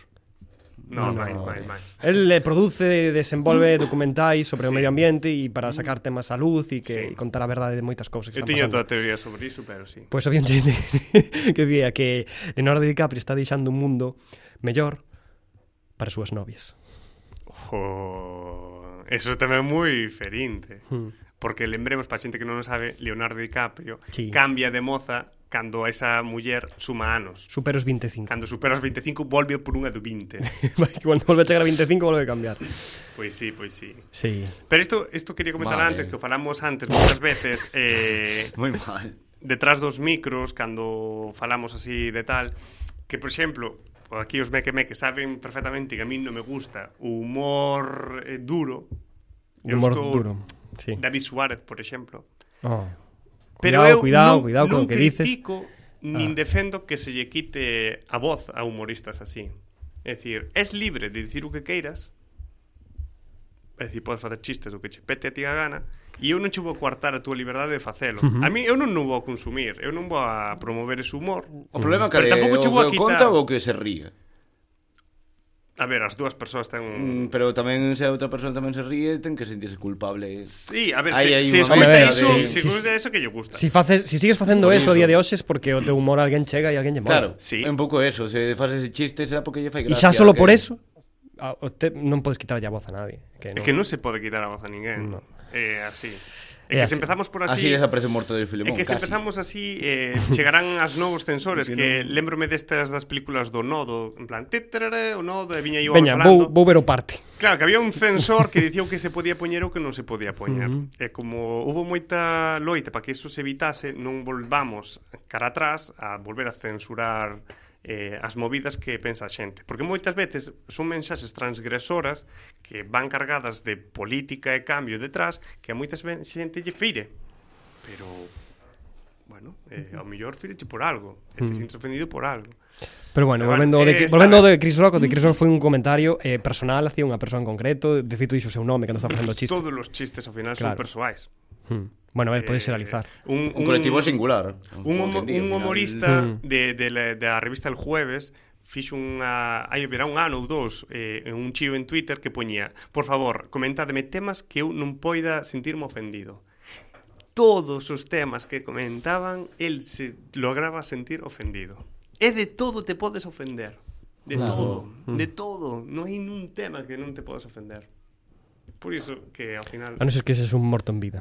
Speaker 1: No,
Speaker 3: No,
Speaker 1: mai,
Speaker 3: no,
Speaker 1: mai,
Speaker 3: no.
Speaker 1: mai.
Speaker 3: El eh, produce, desenvolve documentais sobre o
Speaker 1: Sí.
Speaker 3: medio ambiente e para sacar temas á luz e que
Speaker 1: Sí.
Speaker 3: e contar a verdade de moitas cousas
Speaker 1: Eu
Speaker 3: que están
Speaker 1: tiño toda
Speaker 3: pasando.
Speaker 1: a teoría sobre iso, pero sí.
Speaker 3: Pois había un chiste que día que Leonardo DiCaprio está deixando un mundo mellor para as súas novias.
Speaker 1: Jo, eso tamén é moi ferinte.
Speaker 3: Hmm.
Speaker 1: Porque lembremos, para xente que non o sabe, Leonardo DiCaprio
Speaker 3: Sí.
Speaker 1: cambia de moza cando a esa muller suma anos.
Speaker 3: Supera os 25.
Speaker 1: Cando supera os 25, volve por unha do 20.
Speaker 3: Vai, que Cando volve a chegar a 25 volve a cambiar.
Speaker 1: pois sí, pois sí.
Speaker 3: Sí.
Speaker 1: Pero isto, isto quería comentar
Speaker 2: Vale.
Speaker 1: antes, que o falamos antes moitas veces, eh,
Speaker 2: Moi mal.
Speaker 1: detrás dos micros, cando falamos así de tal, que, por exemplo, aquí os meque meque saben perfectamente que a mí non me gusta o humor eh, duro. Eu
Speaker 3: Humor
Speaker 1: estou-
Speaker 3: duro. Sí.
Speaker 1: David Suárez, por exemplo.
Speaker 3: Oh.
Speaker 1: Pero
Speaker 3: cuidado,
Speaker 1: eu
Speaker 3: cuidado,
Speaker 1: non,
Speaker 3: cuidado
Speaker 1: non
Speaker 3: con o que dices. Ah.
Speaker 1: critico nin defendo que se lle quite a voz a humoristas así. É dicir, es libre de dicir o que queiras, é dicir, podes facer chistes do que che pete a ti a gana, e eu non che vou coartar a túa liberdade de facelo. Uh -huh. A mí eu non, non vou a consumir, eu non vou a promover ese humor.
Speaker 2: O problema é que
Speaker 1: Pero tampouco
Speaker 2: o
Speaker 1: che vou a
Speaker 2: que o
Speaker 1: quitar.
Speaker 2: conta ou o que se ríe.
Speaker 1: A ver, as dúas persoas ten un...
Speaker 2: Mm, Pero tamén se a outra persoa tamén se ríe, ten que sentirse culpable.
Speaker 1: Sí, a ver,
Speaker 2: Aí hai
Speaker 1: se, se
Speaker 2: unha
Speaker 1: escuta
Speaker 3: manera
Speaker 1: iso, se
Speaker 3: de- sí,
Speaker 1: escuta iso que lle gusta.
Speaker 3: Si faces, si sigues facendo
Speaker 2: iso.
Speaker 3: eso a día de hoxe es porque o teu humor a alguén chega e alguén lle mola.
Speaker 2: Claro,
Speaker 1: Sí.
Speaker 2: é un pouco eso, se faz ese chiste será porque lle fai
Speaker 3: E
Speaker 2: gracia.
Speaker 3: xa solo
Speaker 2: que-
Speaker 3: por eso a, o te, non podes quitarlle a voz a nadie, que
Speaker 1: É
Speaker 3: non.
Speaker 1: que non se pode quitar a voz a ninguén.
Speaker 3: No.
Speaker 1: É así. É
Speaker 3: É
Speaker 1: que se
Speaker 3: así.
Speaker 1: empezamos por
Speaker 2: Así desaparece o morto de
Speaker 1: É
Speaker 2: Filemón,
Speaker 1: que se
Speaker 2: casi.
Speaker 1: empezamos así eh, chegarán as novos censores
Speaker 2: Que
Speaker 1: que lembrome destas das películas do nodo, en plan tetrará, o nodo e viña eu
Speaker 3: Veña,
Speaker 1: falando.
Speaker 3: vou, vou ver o parte.
Speaker 1: Claro, que había un censor que dicía o que se podía poñer ou que non se podía poñer. Uh -huh. E como hubo moita loita para que eso se evitase, non volvamos cara atrás a volver a censurar eh, as movidas que pensa a xente. Porque moitas veces son mensaxes transgresoras que van cargadas de política e cambio detrás que a moitas ve- xente lle fire. Pero, bueno, eh, ao mellor fireche por algo. E te sintes ofendido por algo.
Speaker 3: Pero bueno,
Speaker 1: Pero
Speaker 3: volvendo,
Speaker 1: bueno,
Speaker 3: de,
Speaker 1: eh, está
Speaker 3: volvendo
Speaker 1: ben.
Speaker 3: de Chris Rock, o de Chris Rock foi un comentario eh, personal hacia unha persoa en concreto, de feito dixo o seu nome cando está facendo o chiste.
Speaker 1: Todos os chistes ao final claro. son
Speaker 3: Claro.
Speaker 1: persoais.
Speaker 3: Hmm. Bueno, a ver, podes
Speaker 1: Eh,
Speaker 3: xeralizar.
Speaker 1: Un,
Speaker 2: Un colectivo singular.
Speaker 1: Un,
Speaker 2: como
Speaker 1: homo,
Speaker 2: que digo,
Speaker 1: un
Speaker 2: al final-
Speaker 1: humorista de, de, la, da revista El Jueves fixo unha... Aí verá un ano ou dous eh, un chío en Twitter que poñía Por favor, comentademe temas que eu non poida sentirme ofendido. Todos os temas que comentaban, el se lograba sentir ofendido. É de todo te podes ofender. De
Speaker 3: Claro.
Speaker 1: todo, de todo. Non hai nun tema que non te podes ofender. Por iso que ao final
Speaker 3: A non ser que seas un morto en vida.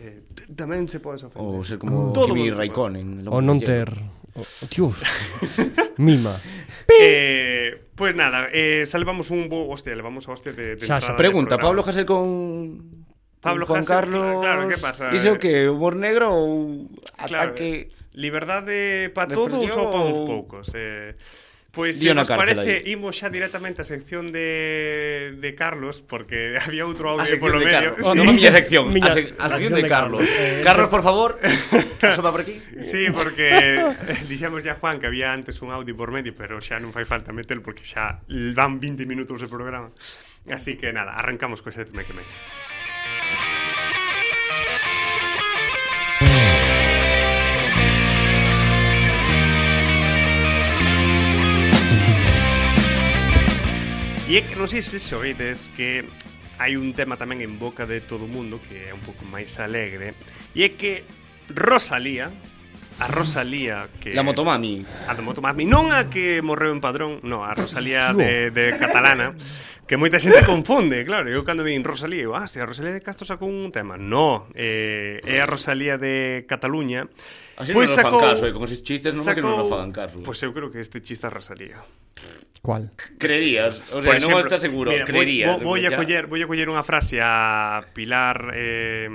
Speaker 1: eh, t- tamén se podes ofender.
Speaker 2: Ou ser como
Speaker 1: Todo
Speaker 2: Kimi
Speaker 1: mundo se
Speaker 2: Raikkonen. el
Speaker 3: O
Speaker 2: hombre
Speaker 3: non
Speaker 2: de
Speaker 3: ter...
Speaker 2: hierro.
Speaker 3: O, o- Dios. Mima.
Speaker 1: Eh, pues nada, eh, salvamos un bo... Hostia, le vamos a hostia de, de
Speaker 3: Xa, xa,
Speaker 1: entrada de
Speaker 2: Pregunta,
Speaker 1: programa.
Speaker 2: Pablo Hasél con...
Speaker 1: Pablo
Speaker 2: con Juan
Speaker 1: Hasél,
Speaker 2: Carlos...
Speaker 1: claro, ¿qué pasa?
Speaker 2: Iso que humor negro ou
Speaker 1: Claro,
Speaker 2: ataque...
Speaker 1: eh, liberdade para
Speaker 2: Depresión
Speaker 1: todos ou para uns
Speaker 2: ou-
Speaker 1: poucos. Eh, pois se
Speaker 2: Día na
Speaker 1: nos
Speaker 2: cárcel
Speaker 1: parece,
Speaker 2: aí.
Speaker 1: imos xa directamente á sección de, de Carlos, porque había outro
Speaker 2: A
Speaker 1: audio aí
Speaker 2: sección
Speaker 1: polo
Speaker 2: de
Speaker 1: medio.
Speaker 2: Carlos.
Speaker 1: Sí,
Speaker 2: Oh,
Speaker 3: no,
Speaker 2: no, miña
Speaker 3: miña-
Speaker 2: sección. a,
Speaker 3: miña-
Speaker 2: sec- a
Speaker 3: a
Speaker 2: sección
Speaker 3: sección
Speaker 2: de
Speaker 3: de
Speaker 2: Carlos.
Speaker 3: Carlos. Eh,
Speaker 2: Carlos, por favor, asoma por aquí.
Speaker 1: sí, porque eh, dixemos ya Juan que había antes un audio por medio, pero xa non fai falta meter porque xa van 20 minutos de programa. Así que nada, arrancamos co set meque meque. E é que non sei se xoides que hai un tema tamén en boca de todo o mundo que é un pouco máis alegre e é que Rosalía a Rosalía que
Speaker 2: La motomami.
Speaker 1: a de Motomami non a que morreu en Padrón non, a Rosalía de, de Catalana que moita xente confunde claro, eu cando vin Rosalía eu, ah, hostia, a Rosalía de Castro sacou un tema no, eh, é a Rosalía de Cataluña
Speaker 2: Así
Speaker 1: Pois
Speaker 2: non nos fan
Speaker 1: sacou-
Speaker 2: caso, eh, con esos chistes non é que non nos fan caso.
Speaker 1: Pois eu creo que este chiste é Rosalía
Speaker 3: Cual?
Speaker 2: creerías, o sea,
Speaker 1: Por exemplo,
Speaker 2: non estás seguro,
Speaker 1: mira, Voy,
Speaker 2: creerías.
Speaker 1: voy, voy, a
Speaker 2: ya.
Speaker 1: coller, voy a coller unha frase a Pilar eh,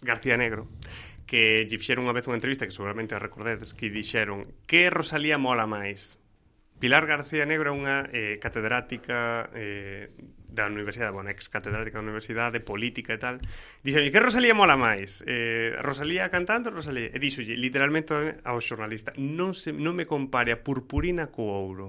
Speaker 1: García Negro que lle fixeron unha vez unha entrevista que seguramente a recordedes que dixeron que Rosalía mola máis Pilar García Negro é unha eh, catedrática eh, da Universidade, bueno, ex catedrática da Universidade, política e tal. Dixolle, que Rosalía mola máis? Eh, Rosalía cantando, Rosalía... E dixolle, literalmente ao xornalista, non, se, non me compare a purpurina co ouro.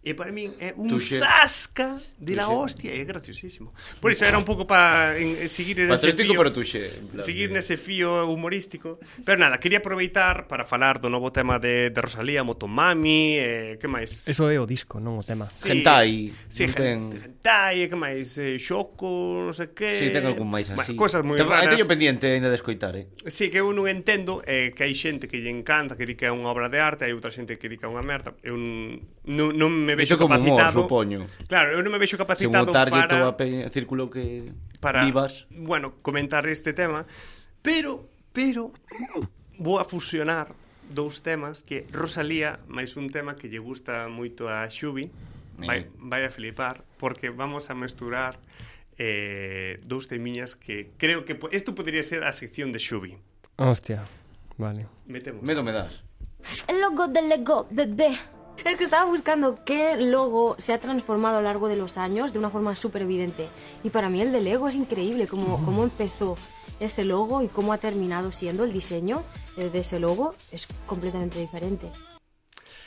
Speaker 1: E para min é un
Speaker 2: Touché.
Speaker 1: zasca de la hostia, é graciosísimo. Por iso era un pouco para en- en seguir en ese
Speaker 2: Patético,
Speaker 1: fío-
Speaker 2: pero tuxe. en plan,
Speaker 1: seguir
Speaker 2: de-
Speaker 1: nese fío humorístico. Pero nada, quería aproveitar para falar do novo tema de, de Rosalía, Motomami, eh, que máis?
Speaker 3: Eso é o disco, non o tema.
Speaker 1: Sí,
Speaker 2: Hentai,
Speaker 1: Sí, gen-
Speaker 2: non ten-
Speaker 1: hentai, que máis? Eh, Xoko, non sei que...
Speaker 2: Sí, ten algún máis
Speaker 1: Bueno,
Speaker 2: así.
Speaker 1: Cosas moi
Speaker 2: Ten- aí
Speaker 1: raras.
Speaker 2: Teño pendiente aínda de escoitar, eh.
Speaker 1: Sí, que eu non entendo é que hai xente que lle encanta, que di que é unha obra de arte, hai outra xente que di que é unha merda. Eu non, non me vexo
Speaker 2: Iso como humor,
Speaker 1: capacitado.
Speaker 2: supoño.
Speaker 1: Claro, eu non me vexo
Speaker 2: Se
Speaker 1: capacitado
Speaker 2: montarlle
Speaker 1: para
Speaker 2: todo a pe... círculo que
Speaker 1: para
Speaker 2: vivas.
Speaker 1: bueno, comentar este tema, pero pero vou a fusionar dous temas que Rosalía máis un tema que lle gusta moito a Xubi, vai,
Speaker 2: Eh.
Speaker 1: vai a flipar porque vamos a mesturar eh, dous temiñas que creo que po- isto podría ser a sección de Xubi.
Speaker 3: Hostia. Vale.
Speaker 1: Metemos.
Speaker 2: Medo me das.
Speaker 5: El logo del Lego, bebé.
Speaker 6: Es que estaba buscando qué logo se ha transformado a lo largo de los años de una forma súper evidente. Y para mí el de Lego es increíble, cómo, cómo empezó ese logo y cómo ha terminado siendo el diseño eh, de ese logo es completamente diferente.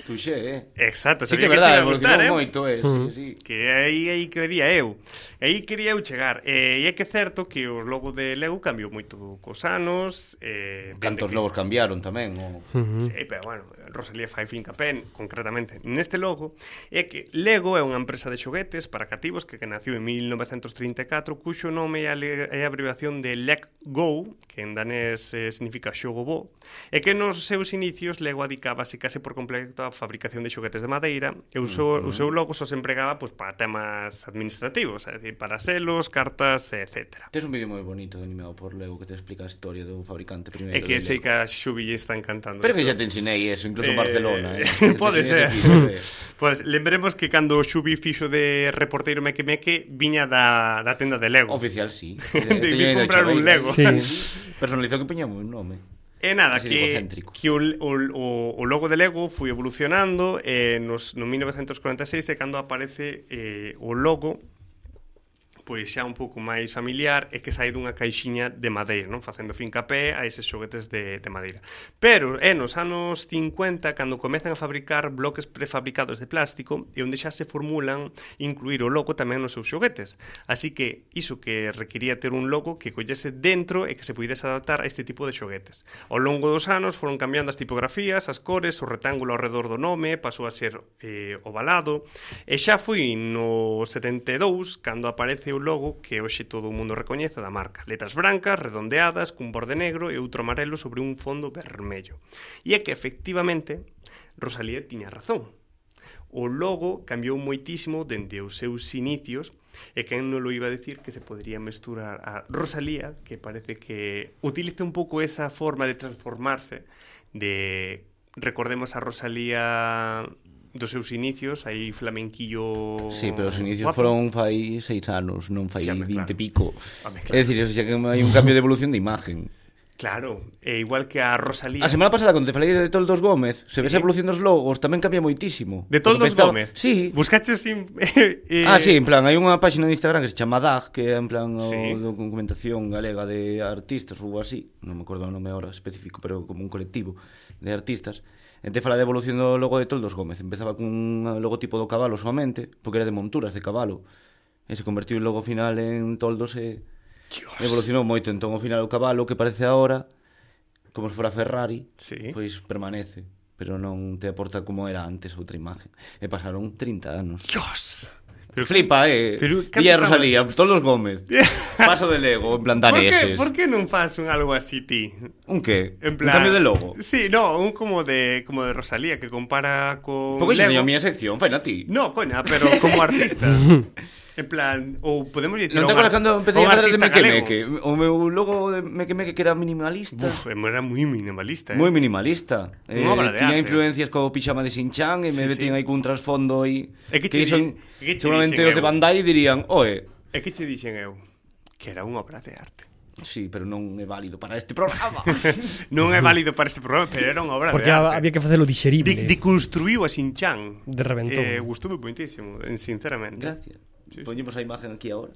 Speaker 2: Tuxe, eh.
Speaker 1: Exacto,
Speaker 2: Sí
Speaker 1: sabía
Speaker 2: que é
Speaker 1: que che
Speaker 2: verdade,
Speaker 1: iba a gustar,
Speaker 2: evolucionou
Speaker 1: eh?
Speaker 2: moito, eh. Sí, sí.
Speaker 1: Que aí, aí quería eu Aí quería eu chegar eh, E é que é certo que o logo de Lego cambiou moito cos anos eh, dende
Speaker 2: Cantos
Speaker 1: que-
Speaker 2: lobos cambiaron tamén, o...
Speaker 1: Sí, pero bueno, Rosalía fai fincapén concretamente neste logo é que Lego é unha empresa de xoguetes para cativos que, que naciu en 1934 cuxo nome é a, le- é a abreviación de Leg Go, que en danés eh, significa xogo bo, e que nos seus inicios Lego adicábase case por completo á fabricación de xoguetes de madeira e usou, uh -huh. o seu logo só se empregaba pois, para temas administrativos, é dicir, para selos, cartas, etc.
Speaker 2: Tes un vídeo moi bonito de animado por Lego que te explica a historia do fabricante primeiro.
Speaker 1: É que
Speaker 2: do
Speaker 1: sei que
Speaker 2: Lego.
Speaker 1: a Xubi lle están cantando.
Speaker 2: Pero que
Speaker 1: isto.
Speaker 2: xa te ensinei eso, incluso
Speaker 1: Eh,
Speaker 2: en Barcelona, eh.
Speaker 1: Pode
Speaker 2: Te
Speaker 1: ser.
Speaker 2: ensinei ese eh. vídeo,
Speaker 1: Pois lembremos que cando o Xubi fixo de reporteiro Meque Meque viña da, da tenda de
Speaker 2: eh.
Speaker 1: Lego.
Speaker 2: Oficial, sí.
Speaker 1: Decidí
Speaker 2: Teño ainda o
Speaker 1: comprar un
Speaker 2: chaveiro.
Speaker 1: Lego.
Speaker 3: Sí.
Speaker 2: Personalizado que peñamos un nome.
Speaker 1: E nada,
Speaker 2: Así
Speaker 1: que,
Speaker 2: egocéntrico.
Speaker 1: que o, o, o, o logo de Lego foi evolucionando eh, nos, no 1946 e cando aparece eh, o logo pois xa un pouco máis familiar e que sai dunha caixiña de madeira, non facendo fincapé a eses xoguetes de, de madeira. Pero é nos anos 50 cando comezan a fabricar bloques prefabricados de plástico e onde xa se formulan incluir o logo tamén nos seus xoguetes. Así que iso que requería ter un logo que collese dentro e que se puidese adaptar a este tipo de xoguetes. Ao longo dos anos foron cambiando as tipografías, as cores, o retángulo ao redor do nome, pasou a ser eh, ovalado, e xa foi no 72 cando aparece o logo que hoxe todo o mundo recoñece da marca. Letras brancas, redondeadas, cun borde negro e outro amarelo sobre un fondo vermello. E é que efectivamente Rosalía tiña razón. O logo cambiou moitísimo dende os seus inicios e quen non lo iba a decir que se podría mesturar a Rosalía, que parece que utiliza un pouco esa forma de transformarse de recordemos a Rosalía dos seus inicios, aí flamenquillo
Speaker 2: Sí, pero os inicios
Speaker 1: guapo.
Speaker 2: foron fai seis anos, non fai
Speaker 1: Sí, home,
Speaker 2: 20 e
Speaker 1: claro.
Speaker 2: pico.
Speaker 1: Home,
Speaker 2: É dicir, xa que hai un cambio de evolución de imagen.
Speaker 1: Claro, e igual que a Rosalía.
Speaker 2: A semana pasada, cando te falei de Toldos Gómez,
Speaker 1: Sí.
Speaker 2: se ves a evolución dos logos, tamén cambia moitísimo.
Speaker 1: De Toldos
Speaker 2: Porque
Speaker 1: Gómez.
Speaker 2: Sí.
Speaker 1: Buscaches sin eh,
Speaker 2: Ah, sí, en plan, hai unha páxina de Instagram que se chama DAG, que é en plan o,
Speaker 1: Sí.
Speaker 2: documentación galega de artistas ou así, non me acordo o nome ahora específico, pero como un colectivo de artistas. E te fala da evolución do logo de Toldos Gómez. Empezaba cun logotipo do cabalo soamente, porque era de monturas de cabalo. E se convertiu o logo final en Toldos e
Speaker 1: Dios.
Speaker 2: evolucionou moito. Entón, ao final, o cabalo que parece ahora, como se fora Ferrari,
Speaker 1: Sí.
Speaker 2: pois permanece pero non te aporta como era antes outra imaxe. E pasaron 30 anos.
Speaker 1: Dios.
Speaker 2: Pero flipa, eh.
Speaker 1: Pero,
Speaker 2: Pero,
Speaker 1: ¿qué
Speaker 2: Día
Speaker 1: haces,
Speaker 2: Rosalía, todos los Gómez. Paso de Lego, en plan
Speaker 1: ¿Por qué,
Speaker 2: daneses.
Speaker 1: por que non fas un algo así ti?
Speaker 2: Un qué?
Speaker 1: En plan,
Speaker 2: Un cambio de logo.
Speaker 1: Sí, no, un como de como de Rosalía que compara con
Speaker 2: Porque se
Speaker 1: Lego.
Speaker 2: teño a miña sección, faina ti.
Speaker 1: No, coña, pero como artista. en plan, ou podemos dicir
Speaker 2: Non te acordas cando empecé a falar de Meque Meque?
Speaker 1: que
Speaker 2: O meu logo de Meque Meque que era minimalista.
Speaker 1: Uf, era moi minimalista, eh.
Speaker 2: Moi minimalista. Eh,
Speaker 1: Unha obra de
Speaker 2: tiña
Speaker 1: arte.
Speaker 2: influencias co pixama de Sinchan e me
Speaker 1: Sí,
Speaker 2: metían
Speaker 1: sí.
Speaker 2: aí cun trasfondo aí.
Speaker 1: É que che di- é
Speaker 2: dixen-
Speaker 1: que che
Speaker 2: seguramente
Speaker 1: dixen
Speaker 2: os de
Speaker 1: eu.
Speaker 2: Bandai dirían, oe,
Speaker 1: E que che dixen eu? Que era unha obra de arte.
Speaker 2: sí, pero non é válido para este programa.
Speaker 1: non é válido para este programa, pero era unha obra
Speaker 3: Porque
Speaker 1: de
Speaker 3: ha-
Speaker 1: arte.
Speaker 3: había que facelo
Speaker 1: de,
Speaker 3: digerible.
Speaker 1: de construíu a Sinchan.
Speaker 3: De reventón.
Speaker 1: Eh, gustoume moitísimo, eh, sinceramente.
Speaker 2: Gracias.
Speaker 1: Sí, sí.
Speaker 2: Poñemos a imagen aquí agora.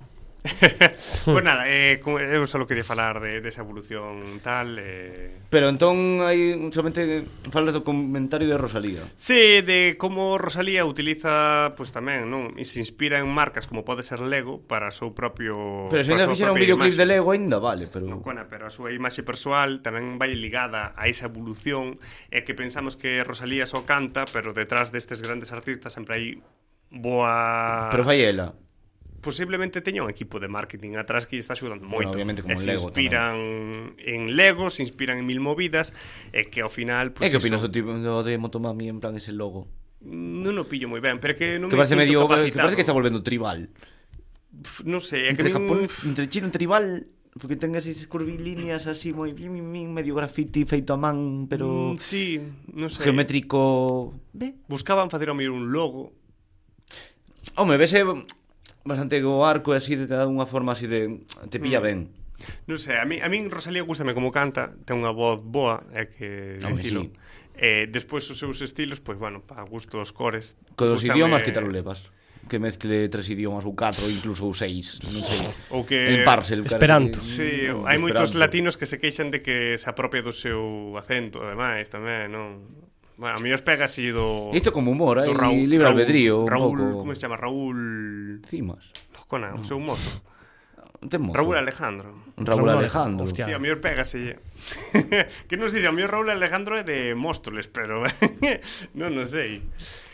Speaker 1: Pois nada, eh, como- eu só quería falar de, desa evolución tal eh,
Speaker 2: Pero entón hai solamente falas do comentario de Rosalía.
Speaker 1: Sí, de como Rosalía utiliza, pois pues, tamén, non? E se inspira en marcas como pode ser Lego para o seu propio
Speaker 2: Pero se
Speaker 1: para a
Speaker 2: ainda
Speaker 1: súa
Speaker 2: fixera un
Speaker 1: propia
Speaker 2: videoclip
Speaker 1: imaxe.
Speaker 2: de Lego aínda vale, pero
Speaker 1: No, cona, pero a súa imaxe persoal tamén vai ligada a esa evolución e que pensamos que Rosalía só canta, pero detrás destes grandes artistas sempre hai boa...
Speaker 2: pero fai ela.
Speaker 1: Posiblemente teña un equipo de marketing atrás que lle está axudando
Speaker 2: Bueno,
Speaker 1: moito.
Speaker 2: obviamente, como
Speaker 1: e
Speaker 2: en
Speaker 1: se
Speaker 2: Lego
Speaker 1: inspiran en Lego, se inspiran en mil movidas, e que ao final...
Speaker 2: Pues
Speaker 1: Pues,
Speaker 2: e que opinas
Speaker 1: iso-
Speaker 2: do tipo do de Motomami en plan ese logo?
Speaker 1: Non o pillo moi ben, pero é que non
Speaker 2: que
Speaker 1: me
Speaker 2: parece
Speaker 1: sinto
Speaker 2: medio que
Speaker 1: capacitado.
Speaker 2: parece que está volvendo tribal.
Speaker 1: Pf, Non sei, é que
Speaker 2: Entre
Speaker 1: min-
Speaker 2: Japón, entre China, entre tribal, porque ten esas curvilíneas así moi blim, blim, blim, medio graffiti feito a man,
Speaker 1: Mm,
Speaker 2: pero
Speaker 1: Sí, non sei.
Speaker 2: geométrico. Ve?
Speaker 1: Buscaban facer ao mellor un logo,
Speaker 2: Home, vese bastante o arco e así de te dá unha forma así de te
Speaker 1: Mm.
Speaker 2: pilla ben.
Speaker 1: Non sei, a mí, a min Rosalía gustame como canta, ten unha voz boa, é que
Speaker 2: Home,
Speaker 1: dicilo.
Speaker 2: Ah, sí.
Speaker 1: Eh, despois os seus estilos, pois bueno, para gusto os cores.
Speaker 2: Co dos
Speaker 1: gústame-
Speaker 2: idiomas que tal o levas? Que mezcle tres idiomas ou catro, incluso ou seis, non sei.
Speaker 1: Ou que-
Speaker 2: En parcel, cara,
Speaker 3: Esperanto.
Speaker 2: que-
Speaker 1: Sí,
Speaker 2: Mm,
Speaker 1: hai moitos
Speaker 2: esperanto.
Speaker 1: latinos que se queixan de que se apropia do seu acento, ademais, tamén, non? Bueno, a mí os pega así do...
Speaker 2: Isto como
Speaker 1: do
Speaker 2: humor, hai
Speaker 1: Raúl-
Speaker 2: libre
Speaker 1: Raúl-
Speaker 2: albedrío, un
Speaker 1: Raúl,
Speaker 2: pouco.
Speaker 1: como se chama? Raúl...
Speaker 2: Cimas.
Speaker 1: Cona, o seu mozo.
Speaker 2: Ten mozo.
Speaker 1: Raúl Alejandro.
Speaker 2: Raúl Alejandro.
Speaker 3: Hostia.
Speaker 1: Sí, a mellor pégaselle. que non sei, se a mellor Raúl Alejandro é de Móstoles, pero non non sei.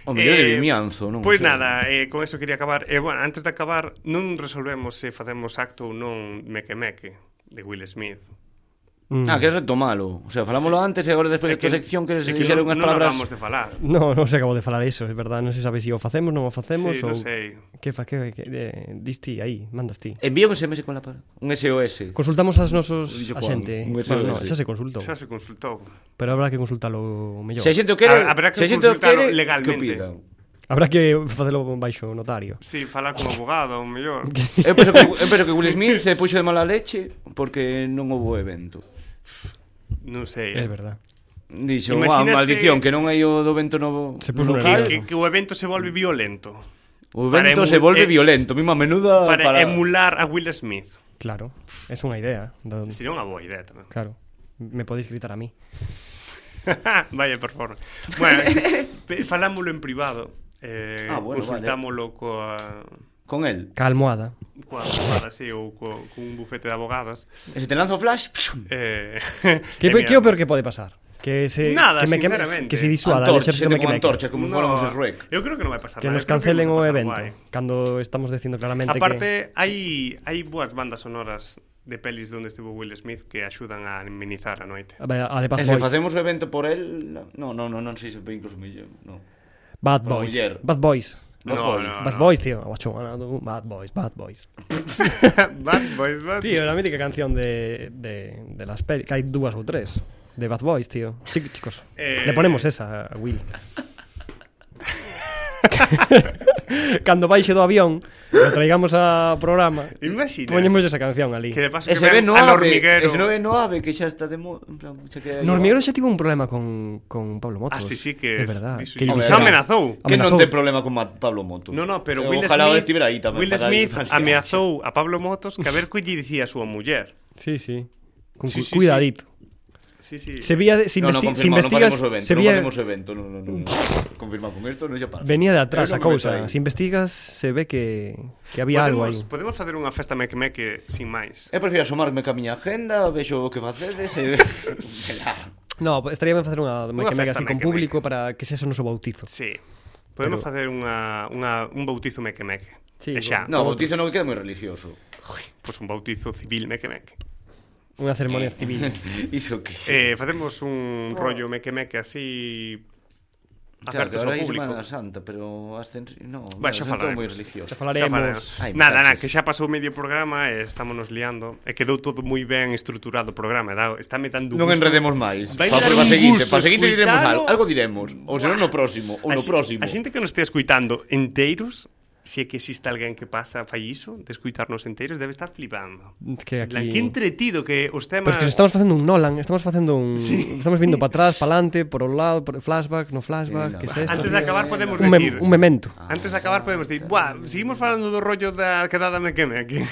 Speaker 2: O mellor é de Vimianzo, non
Speaker 1: Pois
Speaker 2: sei.
Speaker 1: nada, eh, con eso quería acabar. Eh, bueno, antes de acabar, non resolvemos se facemos acto ou non Meque Meque de Will Smith.
Speaker 3: Mm.
Speaker 2: Ah, queres retomalo. O sea, falámoslo sí. antes e agora
Speaker 1: É
Speaker 2: despois da tua sección queres
Speaker 1: é
Speaker 2: dixer
Speaker 1: non-
Speaker 2: unhas
Speaker 1: non
Speaker 2: palabras.
Speaker 1: acabamos de falar.
Speaker 3: No, non se acabou de falar iso, é verdade, non se sabe se si o facemos, non o facemos
Speaker 1: Sí,
Speaker 3: ou
Speaker 1: non sei.
Speaker 3: que fa que, que eh, dis ti aí, mandas ti.
Speaker 2: Envía un SMS con la palabra. Un SOS.
Speaker 3: Consultamos as nosos
Speaker 2: Dixo
Speaker 3: a
Speaker 2: Juan,
Speaker 3: xente.
Speaker 2: un
Speaker 3: Bueno, no,
Speaker 2: SOS.
Speaker 3: xa se consultou,
Speaker 1: Xa se consultou.
Speaker 3: pero habrá que consultalo mellor.
Speaker 2: Se a xente o quere,
Speaker 1: Habrá que
Speaker 2: se a xente o
Speaker 1: consultalo
Speaker 2: quere,
Speaker 1: legalmente.
Speaker 2: que pida.
Speaker 3: Habrá que facelo baixo o notario.
Speaker 1: Sí, falar con abogado, ou mellor.
Speaker 2: Eu penso, que, eu penso que Will Smith se puxo de mala leche porque non houve evento.
Speaker 1: Non sei.
Speaker 3: É
Speaker 1: eh.
Speaker 3: verdad.
Speaker 2: Dixo, "Guau,
Speaker 1: Imaginaste-
Speaker 2: maldición, que non hai o do vento novo
Speaker 3: Se puxo
Speaker 1: Que,
Speaker 2: local".
Speaker 3: nervioso.
Speaker 1: que, que o evento se volve violento
Speaker 2: O
Speaker 1: para emu-
Speaker 2: vento se
Speaker 1: eh,
Speaker 2: volve violento, mesma menuda
Speaker 1: para,
Speaker 2: para...
Speaker 1: emular a Will Smith.
Speaker 3: Claro, es unha idea. do-
Speaker 1: Sería unha boa idea tamén.
Speaker 3: Claro, me podéis gritar a mí.
Speaker 1: Vaya, por favor. Bueno, pe- falámoslo en privado. Eh,
Speaker 2: Ah, bueno,
Speaker 1: consultámoslo coa
Speaker 2: Con el.
Speaker 3: Ca almohada.
Speaker 1: coa abogada, sí, ou co, cun bufete de abogadas.
Speaker 2: E se te lanza o flash, pshum,
Speaker 1: Eh,
Speaker 3: Que,
Speaker 1: eh,
Speaker 3: pe-
Speaker 1: mira,
Speaker 3: que é o peor que pode pasar? Que se
Speaker 1: Nada,
Speaker 3: que me queme-
Speaker 1: sinceramente.
Speaker 3: que se disuada o
Speaker 2: antorchas,
Speaker 3: exército
Speaker 2: xente
Speaker 3: me
Speaker 2: con
Speaker 3: queme-
Speaker 2: antorchas, como
Speaker 1: no,
Speaker 2: fóramos el rec.
Speaker 1: Eu creo que non vai pasar
Speaker 3: que
Speaker 1: nada.
Speaker 3: nos
Speaker 1: eu creo
Speaker 3: cancelen
Speaker 1: vamos
Speaker 3: o
Speaker 1: a pasar
Speaker 3: evento,
Speaker 1: guai.
Speaker 3: cando estamos dicindo claramente
Speaker 1: Aparte, hai hai boas bandas sonoras de pelis donde estivo Will Smith que axudan a amenizar a noite.
Speaker 3: que a, ver, a de
Speaker 2: E
Speaker 3: Bad
Speaker 2: se
Speaker 3: Boys.
Speaker 2: facemos o evento por el... No, no, no, non sei se incluso mellor, no.
Speaker 3: Bad
Speaker 2: por
Speaker 3: Boys.
Speaker 2: muller.
Speaker 3: Bad Boys.
Speaker 2: Bad
Speaker 1: no,
Speaker 2: Boys.
Speaker 1: no,
Speaker 3: Bad
Speaker 1: no.
Speaker 3: Boys, tío, a guachona do- Bad Boys, Bad Boys.
Speaker 1: bad Boys, Bad
Speaker 3: Tío, la mítica canción de, de, de las pelis, que hai dúas ou tres, de Bad Boys, tío. Chicos, chicos,
Speaker 1: Eh.
Speaker 3: le ponemos esa a Will. Cando baixe do avión, lo traigamos a programa,
Speaker 1: Imaginas?
Speaker 3: poñemos esa canción ali.
Speaker 1: Que de paso
Speaker 2: E
Speaker 1: que
Speaker 2: se ve
Speaker 1: ven
Speaker 2: no
Speaker 1: al
Speaker 2: ave,
Speaker 1: hormiguero.
Speaker 2: e se non ve no ave, que xa está de moda, en plan, xa queda...
Speaker 3: No hormiguero xa tivo un problema con, con Pablo Motos.
Speaker 1: Ah, sí, sí, que
Speaker 3: é verdad.
Speaker 1: disu-
Speaker 3: lle
Speaker 2: Hombre,
Speaker 1: Xa
Speaker 3: dixera-
Speaker 1: amenazou.
Speaker 2: Que non
Speaker 3: Amenazou.
Speaker 2: ten problema con Ma- Pablo Moto.
Speaker 1: No, no, pero
Speaker 2: Eh,
Speaker 1: Will
Speaker 2: Ojalá
Speaker 1: Smith,
Speaker 2: estivera aí tamén.
Speaker 1: Will
Speaker 2: para
Speaker 1: Smith
Speaker 2: ir-
Speaker 1: ameazou a Pablo Motos que a ver que lle dicía a súa muller.
Speaker 3: Sí, sí. Con
Speaker 1: Sí,
Speaker 3: cu-
Speaker 1: sí, sí.
Speaker 3: cuidadito.
Speaker 1: Sí, sí.
Speaker 3: Se vía, se,
Speaker 2: No, no,
Speaker 3: investi- se
Speaker 2: confirmado, non
Speaker 3: investigas,
Speaker 2: faremos o evento,
Speaker 3: se
Speaker 2: non
Speaker 3: vía,
Speaker 2: faremos o evento, non, non, non. Confirmado con isto, non xa pasa.
Speaker 3: venía de
Speaker 2: Eu
Speaker 3: atrás a
Speaker 2: non me meto
Speaker 3: cousa.
Speaker 2: aí.
Speaker 3: Se investigas, se ve que, que había algo
Speaker 1: podemos,
Speaker 3: aí.
Speaker 1: podemos facer unha festa meque-meque sin máis.
Speaker 2: Eu prefiro asomarme ca miña agenda, vexo o que facedes e...
Speaker 3: No, estaría ben facer unha mega mega
Speaker 1: festa
Speaker 3: así
Speaker 1: meque-meque.
Speaker 3: con público para que sexa o noso bautizo.
Speaker 1: Sí. Podemos
Speaker 3: Pero-
Speaker 1: facer unha, unha, un bautizo meque-meque.
Speaker 3: Sí,
Speaker 1: e xa,
Speaker 2: no, bautizo non que queda moi religioso.
Speaker 1: pois un bautizo civil meque-meque.
Speaker 3: Unha ceremonia civil.
Speaker 2: Iso que...
Speaker 1: Eh, facemos
Speaker 3: Oh.
Speaker 1: un rollo meque-meque así
Speaker 2: Claro, que
Speaker 1: abertos ao
Speaker 2: agora é
Speaker 1: público.
Speaker 2: Semana Santa, pero ascenso... No,
Speaker 1: Vai,
Speaker 2: no,
Speaker 1: xa
Speaker 2: non
Speaker 1: falaremos.
Speaker 2: moi religioso.
Speaker 3: Xa falaremos.
Speaker 1: Xa falaremos.
Speaker 2: Ai,
Speaker 1: nada, nada,
Speaker 2: muchachos.
Speaker 1: que xa pasou medio programa e estámonos liando. E quedou todo moi ben estruturado o programa. Da, está me dando
Speaker 2: Non
Speaker 1: gusto.
Speaker 2: enredemos máis.
Speaker 1: Vai
Speaker 2: Pa
Speaker 1: dar
Speaker 2: para
Speaker 1: un gusto
Speaker 2: seguinte, para seguinte diremos
Speaker 1: escoitalo.
Speaker 2: algo, algo diremos, ou senón no próximo, ou
Speaker 1: A
Speaker 2: no
Speaker 1: xe- A
Speaker 2: próximo.
Speaker 1: xente que nos estea escuitando enteiros si é que existe alguén que pasa fallizo, descuitarnos enteiros, debe estar flipando.
Speaker 3: Que aquí...
Speaker 1: Plan, que entretido que os
Speaker 3: Pero
Speaker 1: temas...
Speaker 3: es que estamos facendo un Nolan, estamos facendo un...
Speaker 1: Sí.
Speaker 3: Estamos vindo para atrás, para adelante, por un lado, por flashback, no
Speaker 2: Eh,
Speaker 3: flashback, que es
Speaker 2: no.
Speaker 3: esto?
Speaker 1: Antes de acabar podemos
Speaker 3: un,
Speaker 1: decir... Ah.
Speaker 3: mem- un memento.
Speaker 1: Antes de acabar podemos dicir, buah, seguimos falando do rollo da quedada me queme aquí.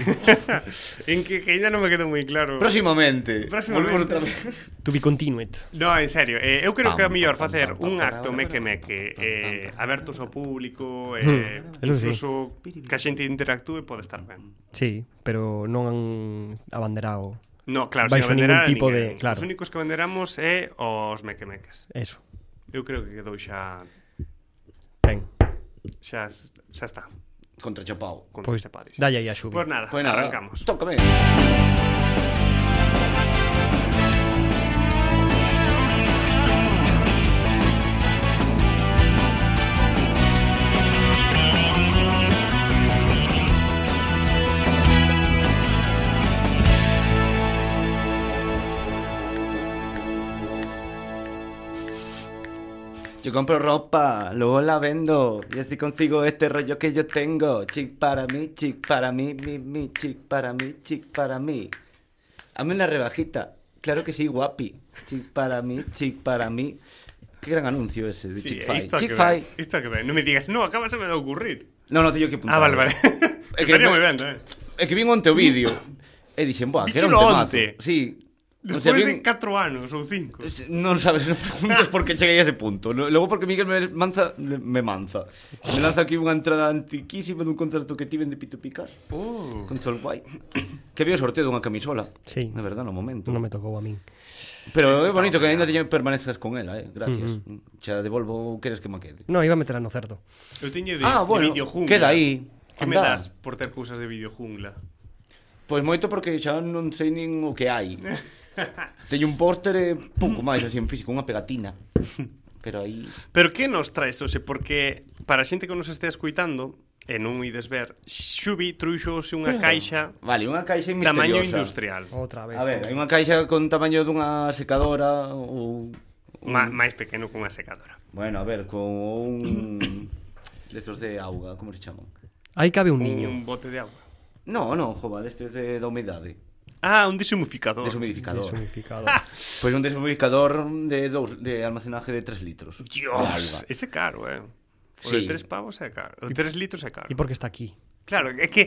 Speaker 1: en que que ainda non me quedou moi claro.
Speaker 2: Próximamente.
Speaker 1: Próximamente.
Speaker 2: Volvemos outra vez.
Speaker 3: To be continued.
Speaker 1: No, en serio, eh, eu creo que é
Speaker 2: Pam,
Speaker 1: mellor
Speaker 2: pam,
Speaker 1: facer
Speaker 2: pam, pam,
Speaker 1: un
Speaker 2: pam,
Speaker 1: acto
Speaker 2: pam,
Speaker 1: meque meque eh, abertos ao público, eh,
Speaker 3: Hmm, eso sí.
Speaker 1: incluso que a xente interactúe pode estar ben.
Speaker 3: Sí, pero non han abanderado
Speaker 1: No, claro,
Speaker 3: Vais
Speaker 1: sen
Speaker 3: a ningún
Speaker 1: abanderar a
Speaker 3: tipo
Speaker 1: ninguén.
Speaker 3: de- claro.
Speaker 1: Os únicos que venderamos é os mequemeques.
Speaker 3: eso.
Speaker 1: Eu creo que quedou xa
Speaker 3: Ben,
Speaker 1: xa xa está.
Speaker 2: Contra Chapao.
Speaker 1: Con
Speaker 3: pois
Speaker 1: este padis.
Speaker 3: dalle aí a xuvia.
Speaker 1: Pois nada,
Speaker 2: Pues nada,
Speaker 1: arrancamos.
Speaker 2: Tócame. Yo compro ropa, luego la vendo. Y así consigo este rollo que yo tengo. Chic para mí, chic para mí, mi, mi, chic para mí, chic para mí. Hazme una rebajita. Claro que sí, guapi. Chic para mí, chic para mí. Qué gran anuncio ese de
Speaker 1: Sí,
Speaker 2: Chick-fil.
Speaker 1: isto é que
Speaker 2: Chick-fil.
Speaker 1: ben, Isto é que ben. Non me digas, no, acaba de ocurrir.
Speaker 2: No, no, teño que apuntar.
Speaker 1: Ah, vale, vale.
Speaker 2: É que,
Speaker 1: Estaría
Speaker 2: me-
Speaker 1: moi ben, eh.
Speaker 2: é que vin onte o vídeo. E dixen, buah, que era un
Speaker 1: Díchelo
Speaker 2: temazo.
Speaker 1: onte.
Speaker 2: Sí. O
Speaker 1: Despois
Speaker 2: sea,
Speaker 1: de
Speaker 2: vin-
Speaker 1: 4 anos ou 5.
Speaker 2: Es- No sabes, no preguntas por qué llegué a ese punto. No- Luego porque Miguel me manza, me manza. Me lanza aquí unha entrada antiquísima dun concerto que tiven de Pito Picas
Speaker 1: Oh.
Speaker 2: con Solvay. Que había o sorteo dunha camisola.
Speaker 3: Sí.
Speaker 2: Na verdade, no momento.
Speaker 3: Non me tocou a min.
Speaker 2: Pero é bonito que ainda teño permanezcas con ela, eh. Gracias. Xa devolvo o queres que me quede.
Speaker 3: No, iba a meter a no cerdo.
Speaker 1: Eu teño de,
Speaker 2: Ah, bueno,
Speaker 1: de videojungla.
Speaker 2: queda aí.
Speaker 1: Que me
Speaker 2: Andá.
Speaker 1: das por ter cousas de videojungla?
Speaker 2: Pois moito porque xa non sei nin o que hai. teño un póster e pouco máis así en físico, unha pegatina. Pero aí
Speaker 1: Pero que nos traes, Ose? Porque para a xente que nos estea escuitando, e non ides ver, Xubi trouxose unha caixa
Speaker 2: Vale, unha caixa misteriosa. Oh.
Speaker 1: tamaño industrial.
Speaker 3: Outra vez.
Speaker 2: A ver, hai unha caixa con tamaño dunha secadora ou...
Speaker 1: Ma, máis pequeno que unha secadora.
Speaker 2: Bueno, a ver, con un... Destos de auga, como se chaman?
Speaker 3: Aí cabe un niño.
Speaker 1: Un bote de agua.
Speaker 2: No, no, jova, destes de, da humidade.
Speaker 1: Ah, un deshumificador.
Speaker 2: Deshumidificador.
Speaker 3: Desunificado.
Speaker 2: Pois un deshumidificador de, dous, de almacenaje de 3 litros. De
Speaker 1: Dios,
Speaker 2: alga.
Speaker 1: ese é caro, eh. O
Speaker 2: Sí.
Speaker 1: de tres pavos é caro. O tres litros é caro.
Speaker 3: e porque está aquí?
Speaker 1: Claro, é que...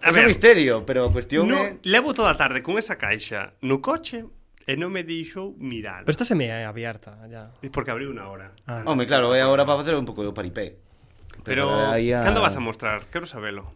Speaker 1: A
Speaker 2: É un
Speaker 1: ver,
Speaker 2: misterio, pero a cuestión
Speaker 1: no,
Speaker 2: é...
Speaker 1: levo toda a tarde con esa caixa no coche e non me deixou mirar.
Speaker 3: Pero esta se me é abierta, ya.
Speaker 1: Porque abriu unha hora.
Speaker 3: Ah,
Speaker 2: Home, claro, eh, é agora para facer un pouco de paripé.
Speaker 1: Pero,
Speaker 2: aí
Speaker 1: cando vas a mostrar? Quero sabelo.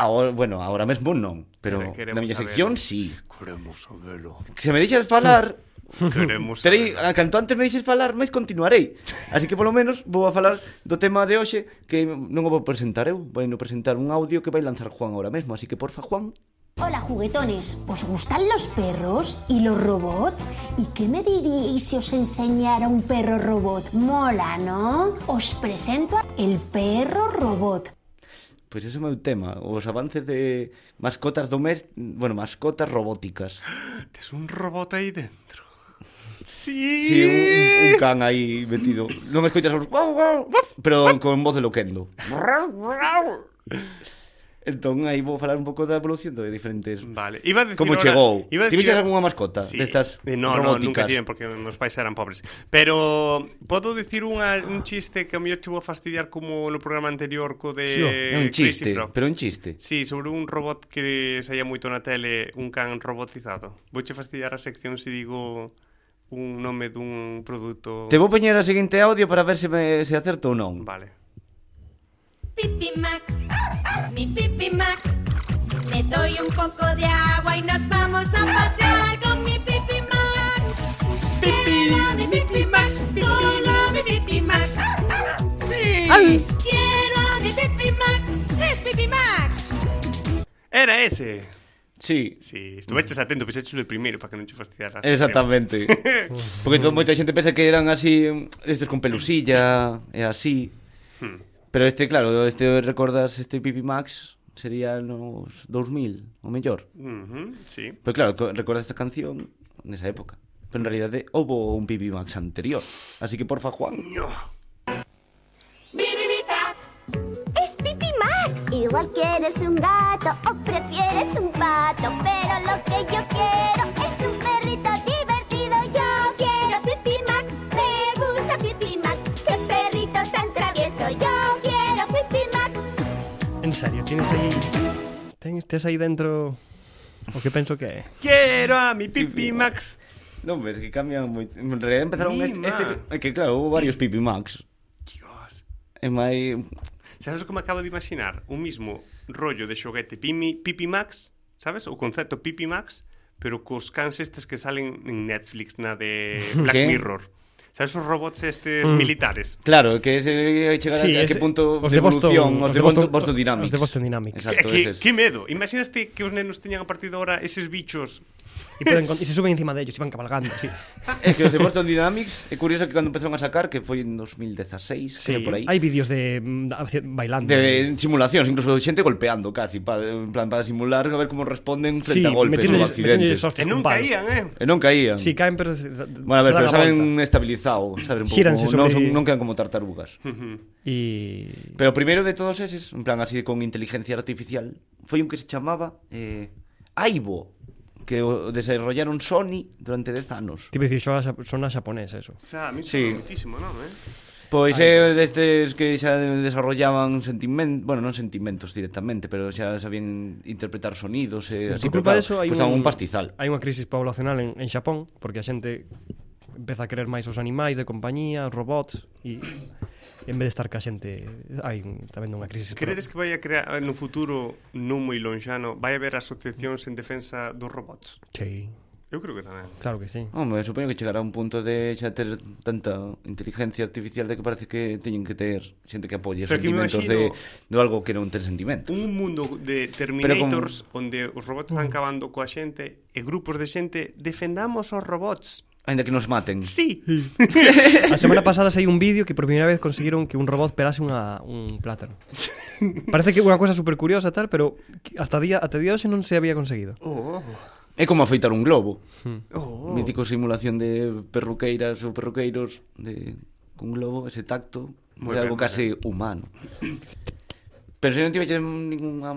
Speaker 2: Ahora, bueno, ahora mesmo non, pero
Speaker 1: Quere- queremos
Speaker 2: na miña sección
Speaker 1: saber.
Speaker 2: sí.
Speaker 1: Queremos sabelo.
Speaker 2: Que se me deixas falar,
Speaker 1: Queremos
Speaker 2: Terei,
Speaker 1: sabelo.
Speaker 2: ah, canto antes me dixes falar, máis continuarei. Así que polo menos vou a falar do tema de hoxe que non o vou presentar eu, vai no presentar un audio que vai lanzar Juan ahora mesmo, así que porfa Juan.
Speaker 5: Hola juguetones, ¿os gustan los perros y los robots? ¿Y qué me diríais si os enseñara un perro robot? Mola, ¿no? Os presento a el perro robot.
Speaker 2: Pois ese é o meu tema, os avances de mascotas domés, bueno, mascotas robóticas.
Speaker 1: Tes un robot aí dentro. Sí.
Speaker 2: Si sí, un, un can aí metido. Non escoitas os guau guau, guau, pero con voz de loquendo. Entón aí vou falar un pouco da evolución de diferentes
Speaker 1: Vale, iba a decir
Speaker 2: Como
Speaker 1: ahora-
Speaker 2: chegou?
Speaker 1: iba a
Speaker 2: Ti
Speaker 1: decir-
Speaker 2: viches algunha mascota destas
Speaker 1: Eh, no, No, nunca
Speaker 2: robóticas?
Speaker 1: tiven porque meus pais eran pobres. Pero podo dicir unha, un chiste que a mellor chuvo a fastidiar como no programa anterior co de
Speaker 3: Sí,
Speaker 2: É oh, un chiste,
Speaker 1: Crazy Frog.
Speaker 2: pero un
Speaker 1: Eh,
Speaker 2: chiste.
Speaker 1: Sí, sobre un robot que saía moito na tele, un can robotizado. Vouche fastidiar a sección se digo un nome dun produto.
Speaker 2: Te vou poñer o seguinte audio para ver se me se acerto ou non.
Speaker 1: Vale.
Speaker 7: Pipi Max, mi Pipi Max. Le doy un poco de agua y nos vamos a pasear con mi Pipi Max. Quiero de Pipi Max, solo de Pipi Max. Sí. Quiero de Pipi Max, es Pipi Max.
Speaker 1: Era ese.
Speaker 2: Sí,
Speaker 1: Sí, estuveches atento, pensaste de primeiro para que non che fastidiaras.
Speaker 2: exactamente. Porque todo, moita xente pensa que eran así mm, estes con pelusilla e así.
Speaker 1: Hmm.
Speaker 2: Pero este, claro, este recordas este Pipi Max sería nos 2000, o mellor.
Speaker 1: Mhm, sí.
Speaker 2: Pero claro, co- recordas esta canción nesa época. Pero en realidade houbo un Pipi Max anterior. Así que porfa, Juan.
Speaker 5: ¡Es Pipi Max! Y
Speaker 8: igual quieres un gato o prefieres un pato, pero lo que yo quiero es un perrito divertido. Yo quiero Pipi Max, me gusta Pipi Max, qué perrito tan travieso. Yo quiero Pipi Max.
Speaker 3: En serio, tienes ahí... Ten, tes aí dentro... O que penso que é?
Speaker 1: Quiero a mi Pipi Max.
Speaker 2: Non, ves que cambian moito. En realidad empezaron
Speaker 1: Pipi
Speaker 2: este, este...
Speaker 1: Max.
Speaker 2: É que claro, houve varios Pipi Max.
Speaker 1: Dios.
Speaker 2: E mai...
Speaker 1: Sabes como acabo de imaginar? Un mismo rollo de xoguete Pipi, Pipi Max, sabes? O concepto Pipi Max, pero cos cans estes que salen en Netflix na de Black
Speaker 2: Que?
Speaker 1: Mirror. Sabes os robots estes
Speaker 2: Mm.
Speaker 1: militares?
Speaker 2: Claro, que ese chegar
Speaker 3: Sí,
Speaker 2: sí, a, a
Speaker 3: ese-
Speaker 2: que punto
Speaker 3: os
Speaker 2: de
Speaker 3: de Boston-
Speaker 2: evolución, os de Boston, Boston Dynamics.
Speaker 3: os de Boston Dynamics.
Speaker 2: Exacto,
Speaker 1: que,
Speaker 2: eses.
Speaker 1: que medo. Imaginaste que os nenos teñan a partir de ahora eses bichos
Speaker 3: E, poden, con- e se suben encima de ellos, e van cabalgando, así.
Speaker 2: É que os de Boston Dynamics, é curioso que cando empezaron a sacar, que foi en 2016,
Speaker 3: Sí,
Speaker 2: creo por aí.
Speaker 3: hai vídeos de mm, da- haci- bailando.
Speaker 2: De simulacións, incluso xente golpeando casi, pa, en plan para simular a ver como responden
Speaker 3: sí,
Speaker 2: frente a golpes ou
Speaker 3: metiéndolles-
Speaker 2: accidentes.
Speaker 3: metiéndolles hostias
Speaker 1: e
Speaker 3: con
Speaker 1: non
Speaker 3: palos.
Speaker 1: caían, eh?
Speaker 2: E non caían.
Speaker 3: Sí, caen, pero se,
Speaker 2: Bueno, a ver,
Speaker 3: se dan
Speaker 2: pero
Speaker 3: a
Speaker 2: saben
Speaker 3: volta.
Speaker 2: estabilizado, saben un pouco,
Speaker 3: Xíranse
Speaker 2: non,
Speaker 3: sobre-
Speaker 2: son, non quedan como tartarugas.
Speaker 3: E...
Speaker 2: Pero o primeiro de todos eses, en plan así con inteligencia artificial, foi un que se chamaba eh, Aibo, que o desarrollaron Sony durante 10 anos.
Speaker 3: Tipo dicir, son, son a xaponés, eso.
Speaker 1: O sea, a mí
Speaker 2: Sí.
Speaker 1: sí. muitísimo, non, eh?
Speaker 2: Pois é destes que xa desarrollaban sentimentos, bueno, non sentimentos directamente, pero xa sabían interpretar sonidos e así,
Speaker 3: Por
Speaker 2: pero
Speaker 3: culpa
Speaker 2: claro,
Speaker 3: deso hai
Speaker 2: costaban un pastizal.
Speaker 3: Hai unha crisis poblacional en, en Xapón, porque a xente empeza a querer máis os animais de compañía, os robots, e, e en vez de estar ca xente hai un- tamén unha crisis. pro-
Speaker 1: Credes que vai a crear eh, no futuro non moi lonxano vai haber asociacións en defensa dos robots?
Speaker 3: Sí,
Speaker 1: Eu creo que tamén.
Speaker 3: claro que sí.
Speaker 2: Home, supoño que chegará un punto de xa ter tanta inteligencia artificial de que parece que teñen que ter xente que apoie
Speaker 1: Pero que me
Speaker 2: sentimentos de,
Speaker 1: imagino-
Speaker 2: de algo que non ten sentimento.
Speaker 1: Un mundo de Terminators onde os robots
Speaker 2: Mm.
Speaker 1: están acabando coa xente e grupos de xente defendamos os robots.
Speaker 2: Ainda que nos maten.
Speaker 1: Sí.
Speaker 3: A semana pasada sei un vídeo que por primeira vez conseguiron que un robot pelase unha, un plátano. Parece que é unha cosa super curiosa tal, pero que hasta día até día hoxe non se había conseguido.
Speaker 1: Oh,
Speaker 2: É como afeitar un globo.
Speaker 1: oh.
Speaker 2: Mítico simulación de perruqueiras ou perruqueiros de cun globo, ese tacto,
Speaker 1: Moi
Speaker 2: é algo
Speaker 1: ben, moi
Speaker 2: casi humano. Pero se non tiveches ninguna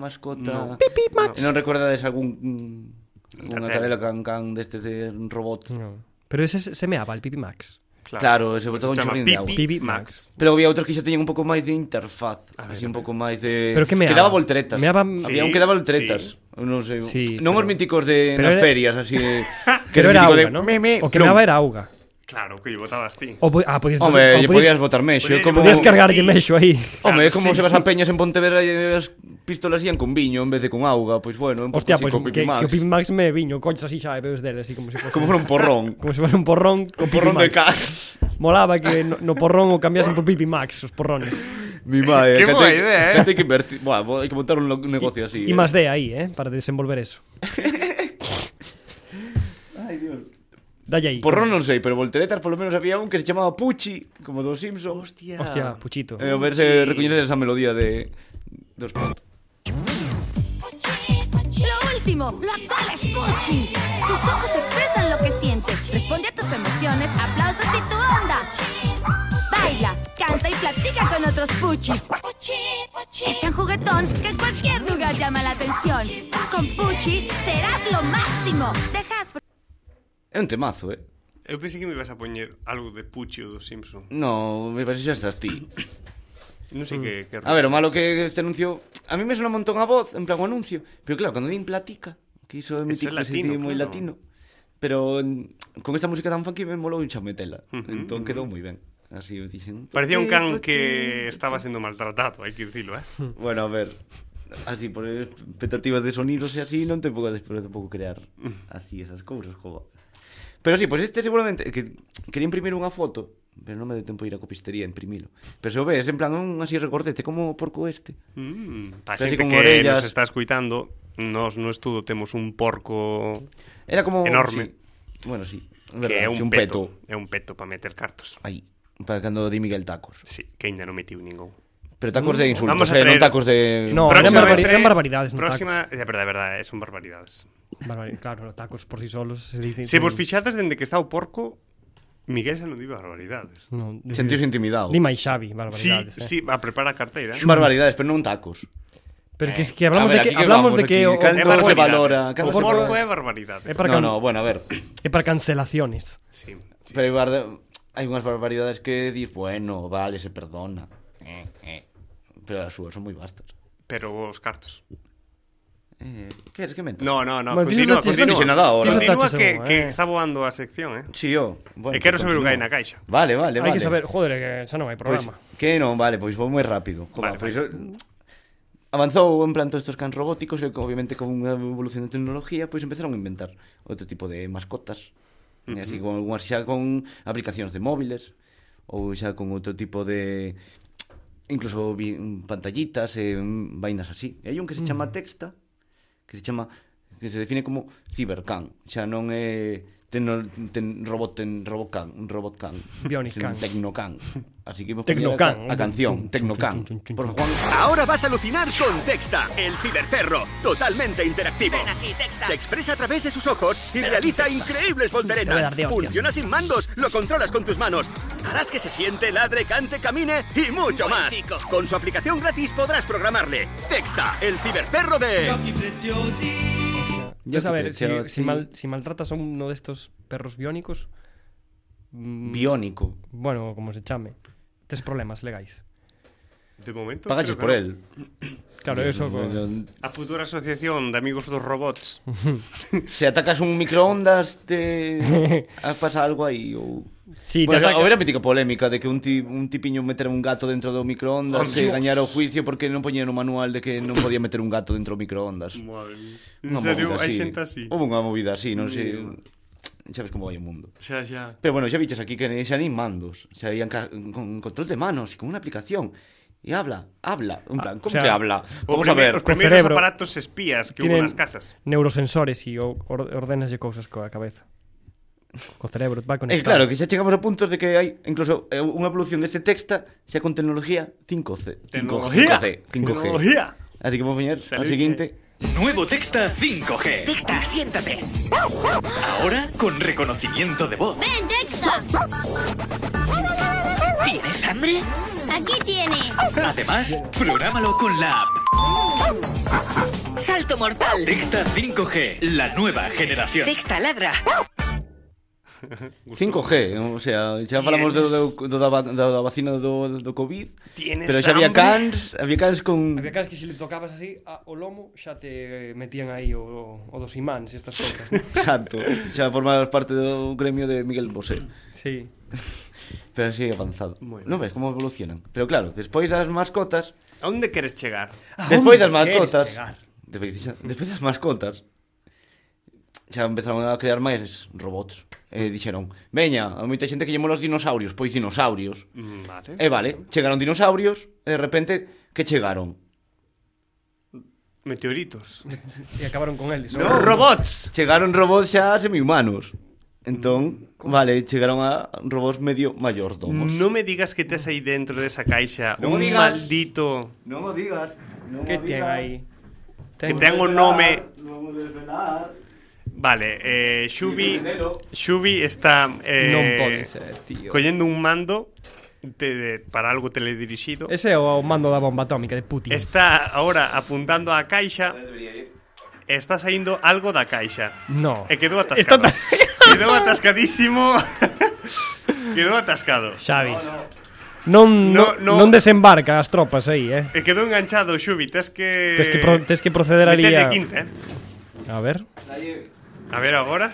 Speaker 1: No.
Speaker 2: mascota... Pipi, Max! Non recordades algún... Unha
Speaker 1: Tartel.
Speaker 2: cadela can can destes de robot.
Speaker 3: No. Pero ese se semeaba el Pipi Max.
Speaker 2: Claro, ese botón
Speaker 1: Se chama
Speaker 2: chorrín de agua.
Speaker 1: Pipi
Speaker 3: Pipi
Speaker 1: Max.
Speaker 2: Pero había outros que xa teñen un pouco máis de interfaz,
Speaker 1: A ver,
Speaker 2: así
Speaker 1: a
Speaker 2: un
Speaker 1: ver.
Speaker 2: pouco máis de
Speaker 3: Pero que meaba?
Speaker 2: que daba volteretas.
Speaker 3: Meaba-
Speaker 2: Había
Speaker 1: Sí,
Speaker 2: un que daba volteretas.
Speaker 1: sí.
Speaker 2: Non sei.
Speaker 3: Sí,
Speaker 2: non os
Speaker 3: pero-
Speaker 2: míticos de
Speaker 3: pero
Speaker 2: nas
Speaker 3: era-
Speaker 2: ferias así de que
Speaker 3: Pero
Speaker 2: era
Speaker 3: era
Speaker 2: mítico
Speaker 3: auga,
Speaker 2: de
Speaker 3: ¿no?
Speaker 2: me, me,
Speaker 3: O que
Speaker 2: non.
Speaker 3: nada era auga.
Speaker 1: Claro, que lle botabas ti.
Speaker 3: O, po- ah, podías,
Speaker 2: Home,
Speaker 3: o
Speaker 2: lle podías botar mexo,
Speaker 1: podías-
Speaker 2: é como
Speaker 3: podías
Speaker 1: podías
Speaker 3: cargarlle
Speaker 1: Sí.
Speaker 3: mexo aí.
Speaker 2: Home, é como
Speaker 1: sí.
Speaker 2: se vas a peñas en Pontevedra e as pistolas ían con viño en vez de con auga, pois bueno, un pouco
Speaker 3: Hostia,
Speaker 2: así
Speaker 3: pois
Speaker 2: co
Speaker 3: pues, que,
Speaker 2: Pipi Max.
Speaker 3: que o Pipi Max me viño, coches así, xa, e bebes dele, así como se fose,
Speaker 2: Como for un porrón.
Speaker 3: como se fose un porrón
Speaker 2: Un
Speaker 3: con
Speaker 2: porrón de
Speaker 3: Pipi Max.
Speaker 2: cal.
Speaker 3: Molaba que no, no porrón o cambiasen por Pipi Max, os porrones.
Speaker 2: Mi mae,
Speaker 1: Que
Speaker 2: que
Speaker 1: boa
Speaker 2: te-
Speaker 1: idea, eh.
Speaker 2: que Te hai que invertir, Buah, bo- hai que montar un lo- un negocio así. eh.
Speaker 3: E más de aí, eh, para desenvolver eso. Ai, Dios. Dalle aí.
Speaker 2: Porrón non sei, pero volteretas polo menos había un que se chamaba Puchi, como dos Simpsons.
Speaker 1: Hostia.
Speaker 3: Hostia, puchito.
Speaker 2: E a ver se recoñeces esa melodía de dos pot.
Speaker 8: Lo último, lo actual es Pucci. Sus ojos expresan lo que siente. Responde a tus emociones, aplausos y tu onda. Baila, canta y platica con otros Puchis. Es tan juguetón que en cualquier lugar llama la atención. Con Pucci serás lo máximo. Dejas
Speaker 2: É un temazo, eh?
Speaker 1: Eu pensei que me ibas a poñer algo de Pucci ou do Simpson.
Speaker 2: No, me parece xa estás ti.
Speaker 1: Non sei que, que
Speaker 2: Mm. A ver, o malo que este anuncio... A mí me suena un montón a voz, en plan o anuncio. Pero claro, cando din platica, que iso é mítico,
Speaker 1: é
Speaker 2: ese
Speaker 1: latino,
Speaker 2: tío moi
Speaker 1: claro.
Speaker 2: latino. Pero mm, con esta música tan funky me molou un chametela. Uh -huh, entón quedou moi ben. Así o dixen.
Speaker 1: Parecía un can que estaba sendo maltratado, hai que dicilo, eh?
Speaker 2: Bueno, a ver. Así, por expectativas de sonidos e así, non te podes pero tampouco crear así esas cousas, joba. Pero sí, pois pues este seguramente que quería imprimir unha foto, pero non me deu tempo de ir á copistería a imprimilo. Pero se o ves, en plan, un así recordete como o porco este.
Speaker 1: Mm, pa
Speaker 2: Casi
Speaker 1: xente que
Speaker 2: como orellas.
Speaker 1: nos está escuitando, nos no estudo temos un porco
Speaker 2: Era como
Speaker 1: Enorme.
Speaker 2: Sí. Bueno, sí.
Speaker 1: que é
Speaker 2: sí,
Speaker 1: un,
Speaker 2: un
Speaker 1: peto.
Speaker 2: peto.
Speaker 1: É un peto para meter cartos.
Speaker 2: Aí, para cando di Miguel tacos.
Speaker 1: Sí, que ainda non metiu ningún.
Speaker 2: Pero tacos de insultos,
Speaker 1: Mm. Vamos a
Speaker 2: eh, non
Speaker 1: traer-
Speaker 2: tacos de
Speaker 3: No, eran
Speaker 1: Próxima
Speaker 3: barbaridades,
Speaker 1: vez-
Speaker 3: eran barbaridades, non
Speaker 1: Próxima, é verdade, é verdade, eh, son barbaridades.
Speaker 3: Barbaridade, Claro, os tacos por si solos se dicen.
Speaker 1: Se vos fixades dende que está o porco, Miguel xa non di barbaridades.
Speaker 3: No, dices-
Speaker 2: sentíos intimidados.
Speaker 3: Di máis Xavi,
Speaker 1: Sí,
Speaker 3: barbaridades. eh.
Speaker 1: sí, a prepara a carteira. eh?
Speaker 2: Barbaridades, pero non tacos.
Speaker 3: Pero que, es que hablamos
Speaker 2: Eh, A ver,
Speaker 3: de que,
Speaker 2: aquí que
Speaker 3: hablamos
Speaker 2: vamos,
Speaker 3: de que
Speaker 2: aquí,
Speaker 3: o-
Speaker 2: Cal-
Speaker 3: o-
Speaker 2: Caldo se
Speaker 1: barbaridades.
Speaker 2: valora,
Speaker 1: O
Speaker 2: caldo
Speaker 1: porco
Speaker 2: se valora.
Speaker 1: é barbaridades.
Speaker 3: É para
Speaker 2: No,
Speaker 3: can-
Speaker 2: no, bueno, a ver.
Speaker 3: é para cancelaciones.
Speaker 1: Sí, sí.
Speaker 2: Pero hai barda- hai unhas barbaridades que dis, bueno, vale, se perdona. Eh, eh. Pero as súas son moi vastas.
Speaker 1: Pero os cartos.
Speaker 2: Eh, que es que mento?
Speaker 1: No, no, no.
Speaker 3: Bueno,
Speaker 1: continúa,
Speaker 3: dices-
Speaker 1: continúa.
Speaker 2: dices nada ahora.
Speaker 1: Continúa
Speaker 3: Dices-
Speaker 1: que, que
Speaker 3: eh.
Speaker 1: está boando a sección, eh.
Speaker 2: Sí, yo. Bueno,
Speaker 1: E quero saber o que hai
Speaker 2: continúa.
Speaker 1: na caixa.
Speaker 2: Vale, vale,
Speaker 3: Hai
Speaker 2: vale.
Speaker 3: que saber, joder, que xa non hai
Speaker 2: Pois,
Speaker 3: programa.
Speaker 2: Pues, que non, vale, pois vou moi rápido.
Speaker 1: Vale,
Speaker 2: Joder, pois, eh, Avanzou en plan todos estes cans robóticos e co- obviamente con unha evolución da tecnología pois empezaron a inventar outro tipo de mascotas uh -huh. así con algunhas xa con aplicacións de móviles ou xa con outro tipo de incluso vi, pantallitas e mm, vainas así. E hai un que se
Speaker 3: Mm.
Speaker 2: chama Texta, que se chama que se define como cibercan, xa non é tecno, ten, robot ten robocan, un robotcan,
Speaker 3: Bionic can.
Speaker 2: tecnocan. Así que vou poñer
Speaker 3: Tecnocan.
Speaker 2: a, ca- a canción, Tecnocan.
Speaker 3: Chun, chun, chun, chun,
Speaker 2: Por
Speaker 3: chun.
Speaker 2: Juan
Speaker 9: Ahora vas a alucinar con Texta, el ciberperro, totalmente interactivo. Se expresa a través de sus ojos y realiza increíbles
Speaker 3: Te voy a
Speaker 9: volteretas.
Speaker 3: dar de hostias.
Speaker 9: Funciona sin mandos, lo controlas con tus manos. Harás que se siente, ladre, cante, camine y mucho más. Con su aplicación gratis podrás programarle. Texta, el ciberperro de...
Speaker 2: Yo
Speaker 3: Yo
Speaker 2: que
Speaker 3: saber, si,
Speaker 2: creo, sí.
Speaker 3: si, mal, si maltratas a uno de estos perros biónicos, mm,
Speaker 2: Biónico.
Speaker 3: bueno, como se chame, tes problemas legais.
Speaker 1: De momento.
Speaker 2: Pagaches
Speaker 1: creo que
Speaker 2: por Eh,
Speaker 1: no.
Speaker 2: el.
Speaker 3: Claro, eso... co-
Speaker 1: A futura asociación de amigos dos robots.
Speaker 2: Se atacas un microondas te has pasa algo aí ou
Speaker 3: Sí,
Speaker 2: bueno,
Speaker 3: te ataca-
Speaker 2: houbera mítica polémica de que un, ti, un tipiño metera un gato dentro do microondas
Speaker 1: Oh,
Speaker 2: e
Speaker 1: Dios.
Speaker 2: gañara o juicio porque non poñía no manual de que non podía meter un gato dentro do microondas.
Speaker 1: Madre mía. En
Speaker 2: Unha
Speaker 1: serio,
Speaker 2: movida
Speaker 1: hai xente así.
Speaker 2: Houve unha movida así, non sei.
Speaker 1: Mira.
Speaker 2: Sabes como vai o mundo.
Speaker 1: Xa, xa.
Speaker 2: Pero bueno, xa viches aquí que xa nin mandos, xa ian ca- con control de manos e con unha aplicación. E habla, habla, en plan, como
Speaker 3: sea,
Speaker 2: que habla?
Speaker 1: Ah, O
Speaker 2: Vamos a
Speaker 1: primer-
Speaker 2: ver.
Speaker 1: Os primeiros
Speaker 3: cerebro.
Speaker 1: aparatos espías que hubo
Speaker 3: tienen
Speaker 1: nas casas.
Speaker 3: neurosensores e o- or- ordenaslle cousas coa cabeza. Co cerebro,
Speaker 2: É
Speaker 3: vai
Speaker 2: Eh,
Speaker 3: conectado.
Speaker 2: claro, que xa chegamos a puntos de que hai incluso eh, unha evolución deste texta xa con tecnología 5C. 5G. 5G.
Speaker 1: Tecnología.
Speaker 2: Así que vou poñer o
Speaker 1: Saluche.
Speaker 2: seguinte.
Speaker 9: Nuevo Texta 5G.
Speaker 7: Texta, siéntate.
Speaker 9: Ahora con reconocimiento de voz.
Speaker 8: ¡Ven, Texta!
Speaker 7: ¿Tienes hambre?
Speaker 8: ¡Aquí tienes!
Speaker 9: Además, prográmalo con la app.
Speaker 7: Salto mortal.
Speaker 9: Texta 5G, la nueva generación.
Speaker 7: Texta ladra.
Speaker 2: 5G, o sea, xa falamos do, do, do, da, va- da, da vacina do, do COVID,
Speaker 1: Tienes
Speaker 2: pero xa había
Speaker 1: hambre?
Speaker 2: cans, había cans con...
Speaker 3: Había caras que se le tocabas así a, o lomo xa te eh, metían aí o, o dos imáns e estas cousas. ¿no?
Speaker 2: Exacto, xa formabas parte do gremio de Miguel Bosé.
Speaker 3: sí.
Speaker 2: Pero así avanzado.
Speaker 1: Bueno.
Speaker 2: Non ves como evolucionan. Pero claro, despois das mascotas,
Speaker 1: A onde queres chegar?
Speaker 2: despois das
Speaker 3: onde queres
Speaker 2: mascotas,
Speaker 3: chegar?
Speaker 2: despois, xa- despois das mascotas, xa empezaron a crear máis robots. E dixeron, veña, a moita xente que lle mola os dinosaurios, pois dinosaurios.
Speaker 1: Mm, Vale.
Speaker 2: E vale, chegaron dinosaurios, e de repente, que chegaron?
Speaker 1: Meteoritos.
Speaker 3: E acabaron con eles.
Speaker 1: No, robots.
Speaker 2: Chegaron robots xa semi-humanos.
Speaker 1: Mm,
Speaker 2: Entón, vale, chegaron a robots medio mayordomos.
Speaker 1: No me digas que tes aí dentro desa caixa
Speaker 2: No
Speaker 1: un
Speaker 2: digas.
Speaker 1: maldito
Speaker 2: Non o digas, non
Speaker 3: Que ten aí?
Speaker 1: que ten un nome.
Speaker 2: Non o desvelar.
Speaker 1: Vale, eh Xubi,
Speaker 2: Entendelo.
Speaker 1: Xubi está eh
Speaker 3: Non pode ser, tío.
Speaker 1: Collendo un mando de, de, para algo teledirixido.
Speaker 3: Ese é o mando da bomba atómica de Putin.
Speaker 1: Está ahora apuntando á caixa. e Está saindo algo da caixa.
Speaker 3: No.
Speaker 1: E Eh, quedou atascado. quedou atascadísimo. quedou atascado.
Speaker 3: Xavi. Non,
Speaker 1: No,
Speaker 3: no,
Speaker 1: no.
Speaker 3: non desembarca as tropas aí, eh.
Speaker 1: E quedou enganchado, Xubi, tes que...
Speaker 3: Tes que, pro, tes que proceder ali
Speaker 1: Meterlle
Speaker 3: a...
Speaker 1: Eh, quinta, eh?
Speaker 3: A ver,
Speaker 1: A ver agora.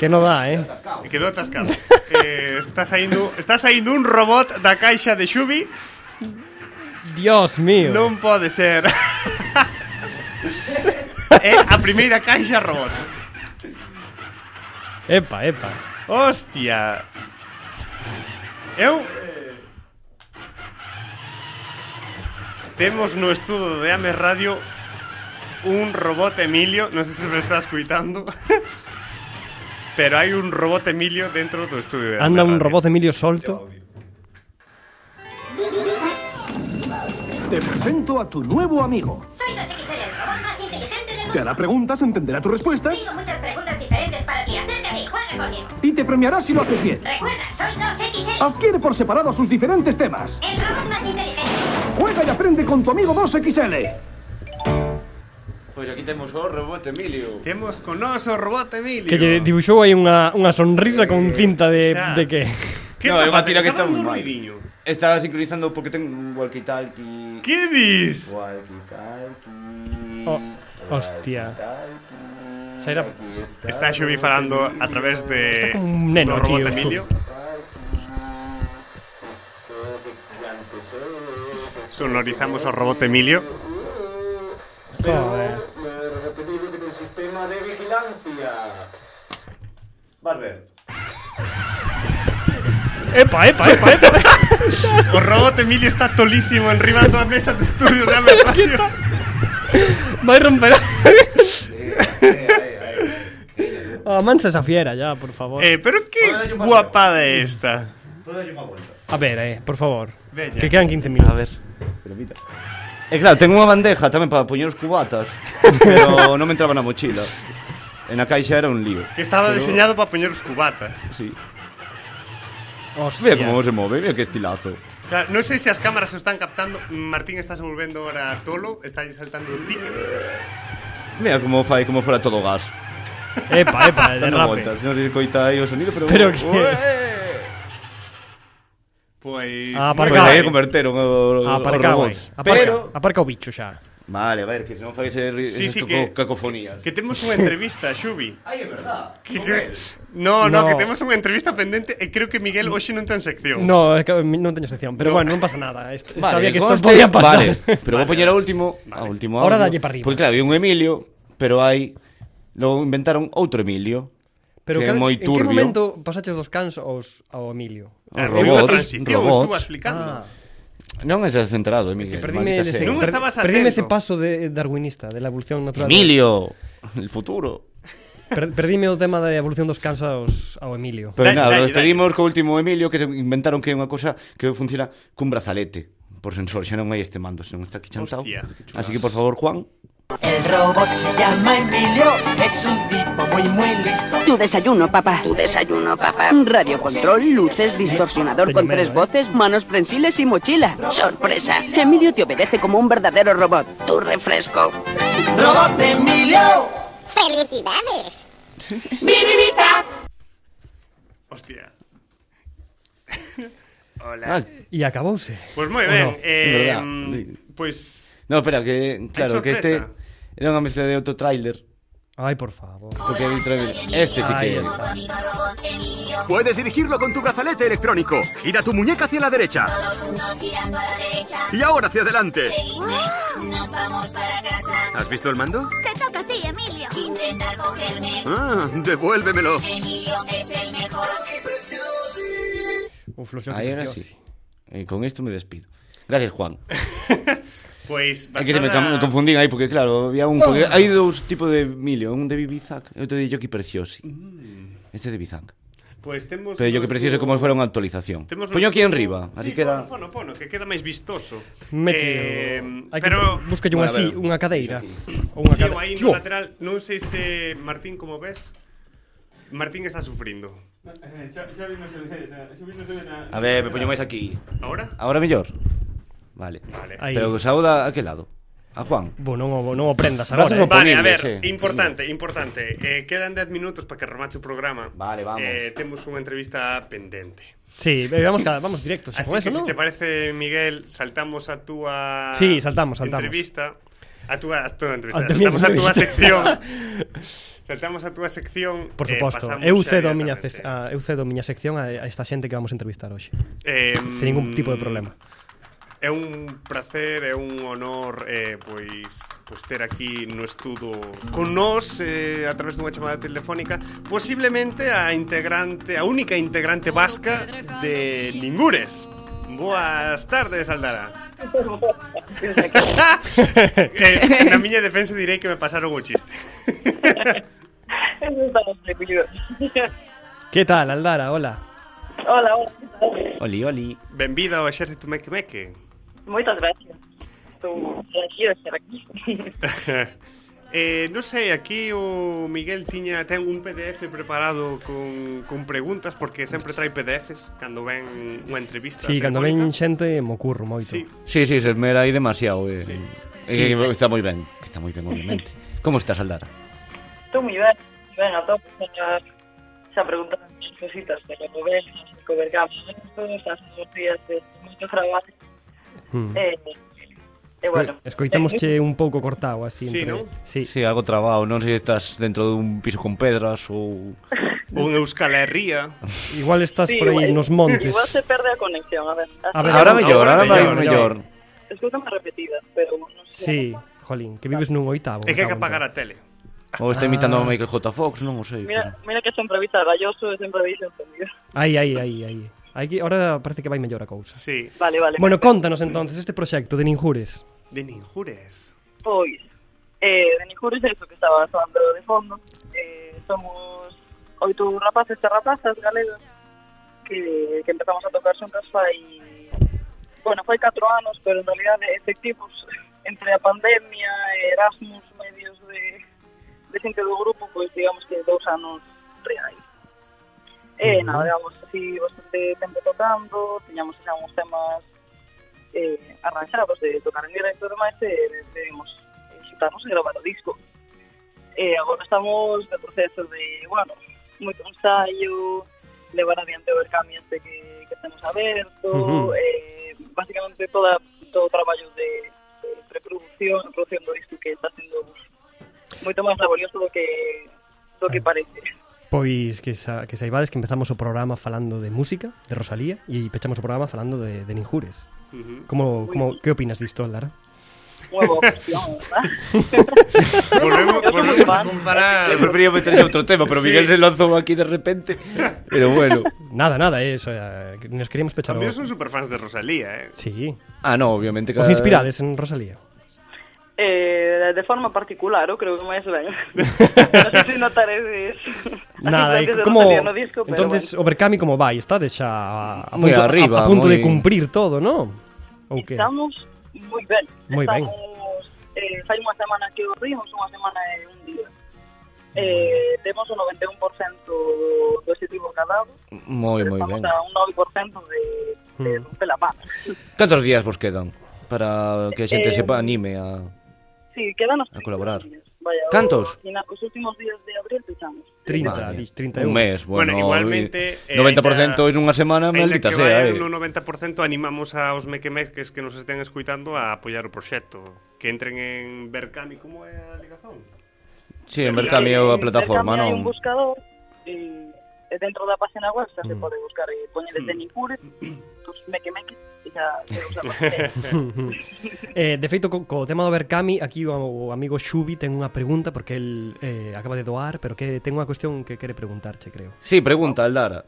Speaker 3: que no dá, eh.
Speaker 1: E quedou atascado. eh, está saindo, está saindo un robot da caixa de Xubi.
Speaker 3: Dios mío.
Speaker 1: Non pode ser. é a primeira caixa robot.
Speaker 3: Epa, epa.
Speaker 1: Hostia. Eu Temos no estudo de Ames Radio un robot Emilio, non sei se me está escuitando. Pero hai un robot Emilio dentro do estudio de Ames
Speaker 3: Anda un
Speaker 1: Radio.
Speaker 3: robot Emilio solto.
Speaker 10: Te presento a tu nuevo amigo.
Speaker 11: Soy Toshiki, soy el robot más inteligente del
Speaker 10: Te
Speaker 11: mundo.
Speaker 10: hará preguntas, entenderá tus respuestas
Speaker 11: Tengo muchas preguntas diferentes para ti. Acércate y juega conmigo.
Speaker 10: y te premiará si lo haces bien.
Speaker 11: Recuerda, soy 2XL,
Speaker 9: Ah.
Speaker 10: Adquiere por separado sus diferentes temas.
Speaker 11: el robot más inteligente.
Speaker 10: Juega y aprende con tu amigo 2XL.
Speaker 2: Pois Pues aquí temos o robot Emilio.
Speaker 1: Temos con nós o robot Emilio.
Speaker 3: Que lle dibuxou aí unha, unha sonrisa con cinta de,
Speaker 1: xa.
Speaker 3: de que...
Speaker 1: Que
Speaker 2: no,
Speaker 1: está
Speaker 2: é unha
Speaker 1: facendo?
Speaker 2: tira que
Speaker 1: Está
Speaker 2: está moi
Speaker 1: dando un
Speaker 2: mal.
Speaker 1: ruidiño.
Speaker 2: Está sincronizando porque ten un walkie-talkie.
Speaker 1: Que dis?
Speaker 2: Walkie-talkie.
Speaker 3: Oh, hostia.
Speaker 2: walkie-talkie,
Speaker 3: Xa era-
Speaker 2: aquí está
Speaker 1: Está Xubi
Speaker 2: o
Speaker 1: falando
Speaker 2: Emilio.
Speaker 1: a través de
Speaker 3: como un
Speaker 1: do
Speaker 3: neno aquí,
Speaker 1: robot
Speaker 3: o Xu.
Speaker 1: Emilio. Sonorizamos o robot Emilio.
Speaker 3: Joder.
Speaker 2: Vas ver.
Speaker 3: Epa, epa, epa, epa.
Speaker 1: O robot Emilio está tolísimo enribando a mesa de estudio de Amer Radio.
Speaker 3: Vai romper...
Speaker 2: Podo
Speaker 3: Oh, mansa esa fiera ya, por favor.
Speaker 1: Eh, pero
Speaker 2: Hola,
Speaker 1: qué
Speaker 2: yo paseo.
Speaker 1: guapada es esta.
Speaker 2: darlle unha volta.
Speaker 3: A ver, eh, por favor.
Speaker 1: Bella.
Speaker 3: Que quedan 15 minutos.
Speaker 2: A ver. Pero mira. E claro, ten unha bandeja tamén para poñer os cubatas, pero non me entraba na mochila. En a caixa era un lío.
Speaker 1: Que estaba diseñado para poner los cubatas.
Speaker 2: Sí.
Speaker 3: Hostia.
Speaker 2: Mira como se move, mira que estilazo.
Speaker 1: Claro, non sei se as cámaras o están captando Martín estás volvendo ahora a tolo Está saltando o tic
Speaker 2: Mira como fai como fora todo gas.
Speaker 3: Epa, epa, el
Speaker 2: Dando
Speaker 3: derrape.
Speaker 2: voltas, non se coita aí o sonido, pero Pues
Speaker 3: Pero que-
Speaker 1: Pois...
Speaker 3: Ah,
Speaker 2: Pois
Speaker 3: Aparcado.
Speaker 2: aí converteron o, o, os
Speaker 3: Aparca, guai.
Speaker 2: robots.
Speaker 3: Aparca, aparca o eh. bicho xa.
Speaker 2: Vale, a ver, que non fai ese, ri-
Speaker 1: Sí, sí,
Speaker 2: esas toco-
Speaker 1: que-
Speaker 2: cacofonías.
Speaker 1: Que temos unha entrevista, Xubi
Speaker 2: Ai, é verdad.
Speaker 1: que, que... No, no,
Speaker 3: No.
Speaker 1: que temos unha entrevista pendente E creo que Miguel hoxe non ten sección
Speaker 3: No, é que non teño sección, pero
Speaker 1: No.
Speaker 3: bueno, non pasa nada. Isto,
Speaker 2: Vale,
Speaker 3: sabía que isto
Speaker 2: conste-
Speaker 3: podía pasar.
Speaker 2: Vale, pero vou poñer o último, a último
Speaker 3: Ahora
Speaker 2: audio,
Speaker 3: dalle pa arriba.
Speaker 2: Porque claro, hai un Emilio, pero hai logo inventaron outro Emilio.
Speaker 3: Pero
Speaker 2: que é
Speaker 3: cal-
Speaker 2: moi
Speaker 3: en que
Speaker 2: turbio.
Speaker 3: momento pasaches dos cans aos, ao Emilio?
Speaker 1: Ah,
Speaker 2: Os
Speaker 1: foi unha
Speaker 2: robots,
Speaker 1: transición,
Speaker 2: robots.
Speaker 1: estuvo explicando
Speaker 2: Non estás centrado, Emilio.
Speaker 3: Perdime, ese,
Speaker 1: Non
Speaker 3: per-
Speaker 1: estabas
Speaker 3: perdime ese
Speaker 1: atento.
Speaker 3: paso de darwinista, de la evolución natural.
Speaker 2: Emilio, el futuro.
Speaker 3: Per- perdime o tema da evolución dos cans aos, ao Emilio.
Speaker 2: Pero
Speaker 1: Dalle,
Speaker 2: nada,
Speaker 1: dalle,
Speaker 2: nos despedimos co último Emilio que se inventaron que é unha cosa que funciona cun brazalete por sensor, xa non hai este mando, senón está aquí chantado.
Speaker 1: Hostia, que chulas.
Speaker 2: Así que por favor, Juan,
Speaker 12: El robot se llama Emilio, es un tipo muy muy listo.
Speaker 13: Tu desayuno, papá. Tu desayuno, papá. Radio control, luces, distorsionador con
Speaker 12: eh.
Speaker 13: tres voces, manos prensiles y mochila. Sorpresa. Emilio te obedece como un verdadero robot. Tu refresco.
Speaker 12: Robot Emilio.
Speaker 11: ¡Felicidades!
Speaker 1: Hostia
Speaker 2: Ah,
Speaker 1: Hola
Speaker 3: E acabouse.
Speaker 1: Pois
Speaker 3: Ah.
Speaker 1: moi ben
Speaker 2: no,
Speaker 1: Pues eh, pues,
Speaker 2: verdad.
Speaker 1: Pois...
Speaker 2: No, espera, que claro, que este
Speaker 1: sorpresa.
Speaker 2: era unha mezcla de outro tráiler,
Speaker 3: Ai, por favor.
Speaker 2: porque hai tráiler. Este sí que é.
Speaker 3: Ahí está.
Speaker 9: Puedes dirigirlo con tu brazalete electrónico. Gira tu muñeca hacia la derecha. Y ahora hacia adelante.
Speaker 7: Nos vamos para casa.
Speaker 9: ¿Has visto el mando?
Speaker 8: Te toca a ti, Emilio.
Speaker 7: Intentar cogerme.
Speaker 9: Ah, devuélvemelo.
Speaker 7: Emilio es el mejor.
Speaker 3: Uf, lo
Speaker 2: Aí era así. E con isto me despido. Gracias, Juan.
Speaker 1: Pois...
Speaker 2: É que se me
Speaker 1: bastada-
Speaker 2: cam- me confundín aí porque claro, había un porque hai dous tipos de Emilio, un de Bibizac e outro de Yoki Preciosi.
Speaker 1: Mm.
Speaker 2: Este é de Bibizac.
Speaker 1: Pois temos...
Speaker 2: Pero Yoki Preciosi é como se fora unha actualización.
Speaker 1: Temos
Speaker 2: Poño
Speaker 1: un-
Speaker 2: aquí en riba,
Speaker 1: Sí,
Speaker 2: así que era
Speaker 1: Pono, pono, pono, que queda máis vistoso Eh,
Speaker 3: Mete o- Hai
Speaker 1: Pero...
Speaker 3: que buscalle unha
Speaker 2: Bueno, a
Speaker 3: así,
Speaker 2: ver.
Speaker 3: unha cadeira. Ou unha
Speaker 1: Tío,
Speaker 3: cadeira.
Speaker 1: aí no lateral, non sei se Martín como ves. Martín está sufrindo.
Speaker 2: A ver, me poño máis aquí.
Speaker 1: Ahora?
Speaker 2: Ahora mellor. Vale.
Speaker 1: Vale.
Speaker 3: Ah, Ahí.
Speaker 2: Pero saúda a que lado? A Juan.
Speaker 3: Bo, non, o, non o prendas agora.
Speaker 2: Brazos
Speaker 3: Eh.
Speaker 2: ao
Speaker 1: Vale, a ver,
Speaker 2: Oponible, sí.
Speaker 1: importante, importante. Eh, quedan 10 minutos para que remate o programa.
Speaker 2: Vale, vamos.
Speaker 1: Eh, temos unha entrevista pendente.
Speaker 3: Sí, eh, vamos, cada, vamos directos.
Speaker 1: Así
Speaker 3: con eso,
Speaker 1: que se
Speaker 3: non?
Speaker 1: te parece, Miguel, saltamos a túa
Speaker 3: Sí, saltamos, saltamos.
Speaker 1: entrevista. A túa, a túa entrevista.
Speaker 3: A túa
Speaker 1: saltamos a túa sección.
Speaker 3: entrevista.
Speaker 1: saltamos a túa sección.
Speaker 3: Por
Speaker 1: eh,
Speaker 3: suposto,
Speaker 1: pasamos
Speaker 3: eu
Speaker 1: xa
Speaker 3: cedo a miña
Speaker 1: directamente.
Speaker 3: ces- a, eu cedo a miña sección a, a esta xente que vamos entrevistar hoxe,
Speaker 1: Eh,
Speaker 3: sen ah, ningún tipo de problema.
Speaker 1: É un placer, é un honor eh, pois pois ter aquí no estudo con nós eh, a través dunha chamada telefónica posiblemente a integrante, a única integrante vasca de Ningures. Boas tardes, Aldara. eh, na miña defensa direi que me pasaron o chiste.
Speaker 3: Que tal, Aldara? Hola.
Speaker 12: Hola, hola.
Speaker 2: Oli, oli.
Speaker 1: Benvida ao Exército Meque Meque.
Speaker 12: Muchas gracias. Estou tranquilo de estar aquí.
Speaker 1: Eh, non sei, aquí o Miguel tiña ten un PDF preparado con, con preguntas porque sempre trae PDFs cando ven unha entrevista.
Speaker 3: Sí, cando ven xente mo curro moito.
Speaker 1: Sí.
Speaker 2: Sí, sí, se esmera aí demasiado. Eh. Sí. Eh, que
Speaker 3: Sí.
Speaker 2: Está moi ben, que está moi ben, obviamente. Como estás, Aldara?
Speaker 14: Estou moi ben, ben a tope, señor. Xa preguntan as cositas, señor Nobel, cobergamento, as noticias de moito traballo.
Speaker 3: Mm.
Speaker 14: E, e Eh, bueno. Eh.
Speaker 3: Escoitamos che un pouco cortado así.
Speaker 14: Sí,
Speaker 3: entre-
Speaker 14: non?
Speaker 3: Sí.
Speaker 2: sí, algo trabado, non sei se estás dentro dun piso con pedras ou...
Speaker 1: Ou en Euskal Herria.
Speaker 3: Igual estás por aí
Speaker 14: igual-
Speaker 3: nos montes.
Speaker 14: Igual se perde a conexión, a ver.
Speaker 3: A ver, Ahora mellor, ahora vai mellor.
Speaker 14: Escúchame repetidas, pero non
Speaker 3: Sí, jolín, que vives nun oitavo.
Speaker 1: É que hai que
Speaker 3: me cago en
Speaker 1: apagar a tele.
Speaker 2: Ou está imitando
Speaker 3: Ah.
Speaker 2: a Michael J. Fox, non o sei.
Speaker 14: Mira, mira que sempre avisa Galloso e sempre avisa entendido.
Speaker 3: Aí, aí, aí, aí. Aí que ahora parece que vai mellor a cousa.
Speaker 1: Sí.
Speaker 14: Vale, vale.
Speaker 3: Bueno, contanos entonces este proxecto de Ninjures.
Speaker 1: De ninjures.
Speaker 14: Pois, eh, de Nijures é iso que estaba soando de fondo. Eh, somos oito rapaces e rapazas galegos que, que empezamos a tocar xuntas fai... Bueno, fai 4 anos, pero en realidad efectivos entre a pandemia e Erasmus, medios de, de xente do grupo, pois digamos que dous anos reais. E
Speaker 15: Ujú.
Speaker 14: nada, digamos así bastante tempo tocando, tiñamos xa uns temas eh, arranxados de tocar en directo e demais, e decidimos eh, xutarnos e gravar o disco. E agora estamos no proceso de, bueno, moito ensaio, levar adiante o cambio este que, que temos aberto,
Speaker 15: Ujú.
Speaker 14: eh, basicamente toda, todo o traballo de, de preproducción, e producción do disco que está sendo moito máis laborioso do que do
Speaker 3: Ah.
Speaker 14: que parece.
Speaker 3: Pois que, sa, que saibades que empezamos o programa falando de música, de Rosalía, e pechamos o programa falando de, de Ninjures.
Speaker 1: Ujú.
Speaker 3: Como, como, que opinas disto, Lara?
Speaker 14: Unha boa opción, ¿verdad?
Speaker 1: Volvemos,
Speaker 14: Eu sou moi
Speaker 1: volvemos a
Speaker 14: fan.
Speaker 1: comparar...
Speaker 2: Eu prefería meterlle outro tema, pero Miguel se lanzou aquí de repente. Pero bueno.
Speaker 3: Nada, nada, eh, eso, eh, que nos queríamos pechar o...
Speaker 1: También son superfans de Rosalía, eh?
Speaker 3: Sí.
Speaker 2: Ah, no, obviamente.
Speaker 3: Os inspirades en Rosalía.
Speaker 14: Eh, de forma particular, eu creo que máis ben. non sei se notaredes
Speaker 3: Nada,
Speaker 14: as
Speaker 3: e
Speaker 14: influencias de
Speaker 3: como
Speaker 14: Rosalía no disco, pero
Speaker 3: entonces o Berkami como vai? Estades xa a, a
Speaker 2: Moi
Speaker 3: punto,
Speaker 2: arriba,
Speaker 3: a, a punto
Speaker 2: moi-
Speaker 3: de cumprir todo, ¿no? Ou que?
Speaker 14: Estamos moi ben.
Speaker 3: Moi ben.
Speaker 14: Estamos, eh, fai unha semana que o rimos, unha semana e un día. Eh, temos o 91% do do objetivo cadado,
Speaker 2: Moi, moi ben.
Speaker 14: estamos a un 9% de,
Speaker 2: Mm.
Speaker 14: de la mano.
Speaker 2: Cantos días vos quedan para que a xente
Speaker 14: Eh,
Speaker 2: sepa anime a,
Speaker 14: Sí, quedanos
Speaker 2: a colaborar?
Speaker 14: Vaya, o-
Speaker 2: Cantos?
Speaker 14: ao final, Os últimos días de abril fechamos.
Speaker 3: 30,
Speaker 2: Madre,
Speaker 3: di- 30
Speaker 2: un
Speaker 3: euros.
Speaker 2: mes, bueno,
Speaker 1: Bueno, igualmente... eh,
Speaker 2: 90%
Speaker 1: aínda-
Speaker 2: en unha semana,
Speaker 1: aínda
Speaker 2: maldita
Speaker 1: que
Speaker 2: sea,
Speaker 1: vaia
Speaker 2: eh.
Speaker 1: No 90% animamos aos mequemeques que nos estén escuitando a apoiar o proxecto. Que entren en Berkami, como é a ligazón?
Speaker 2: Sí, en Berkami é
Speaker 14: Eh,
Speaker 2: a plataforma,
Speaker 14: Intercambio hai
Speaker 2: non?
Speaker 14: un buscador e e dentro da página web xa se
Speaker 2: Mm.
Speaker 14: pode buscar e poñedes
Speaker 2: Hmm.
Speaker 14: de Nicures, tus mequemeques e xa se usa bastante.
Speaker 3: eh, de feito, co, co tema do Berkami, aquí o, o amigo Xubi ten unha pregunta porque el eh, acaba de doar, pero que ten unha cuestión que quere preguntarche, creo.
Speaker 2: Sí, pregunta, Aldara.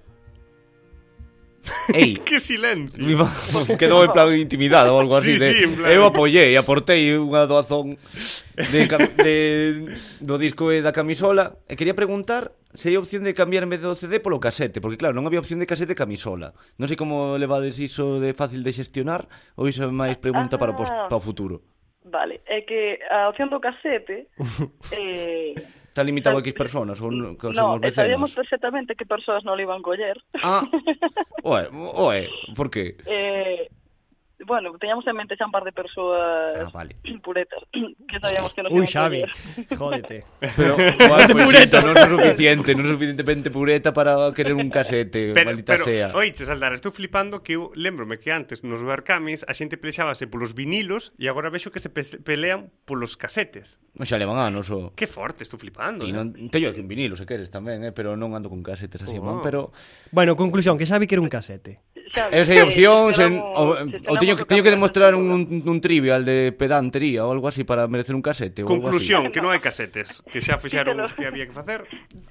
Speaker 2: Ei,
Speaker 1: Que silencio.
Speaker 2: Mi ma- quedou en plan intimidado ou algo así
Speaker 1: Sí,
Speaker 2: de, "Eh,
Speaker 1: sí, en plan.
Speaker 2: Eu apoyei, aportei unha doazón de, cam- de, do disco e da camisola E quería preguntar se hai opción de cambiar en vez do CD polo casete Porque claro, non había opción de casete e camisola Non sei como levades iso de fácil de xestionar Ou iso é máis pregunta para, pos,
Speaker 14: Ah.
Speaker 2: para o futuro
Speaker 14: Vale, é que a opción do casete eh,
Speaker 2: Está limitado a X personas ou non, que os
Speaker 14: no,
Speaker 2: somos
Speaker 14: e sabíamos
Speaker 2: vecinos
Speaker 14: perfectamente que persoas non le iban coller.
Speaker 2: Ah, oe, oe, por que?
Speaker 14: Eh, bueno, teñamos en mente xa un par de persoas
Speaker 2: Ah, vale.
Speaker 14: puretas que sabíamos que non
Speaker 3: Ui,
Speaker 14: iban
Speaker 3: Xavi,
Speaker 14: coller.
Speaker 3: jódete.
Speaker 2: Pero, guau, pois pureta. non é suficiente, non é suficientemente pureta para querer un casete,
Speaker 1: Pero,
Speaker 2: maldita
Speaker 1: pero
Speaker 2: sea.
Speaker 1: oíche, Saldar, estou flipando que eu lembrome que antes nos Berkamis a xente pelexábase polos vinilos e agora vexo que se pe- pelean polos casetes.
Speaker 2: Non xa levan anos o...
Speaker 1: Que forte, estou flipando. eh?
Speaker 2: Ti
Speaker 1: Oh.
Speaker 2: non teño aquí un vinilo, se queres tamén, eh, pero non ando con casetes así, man, pero eh,
Speaker 3: Bueno, conclusión, que Xavi quere un casete.
Speaker 2: eu sei opcións en, o, o teño que teño que demostrar un, un, un trivial de pedantería ou algo así para merecer un casete ou algo así.
Speaker 1: Conclusión, que non hai casetes, que xa fixaron os que había que facer.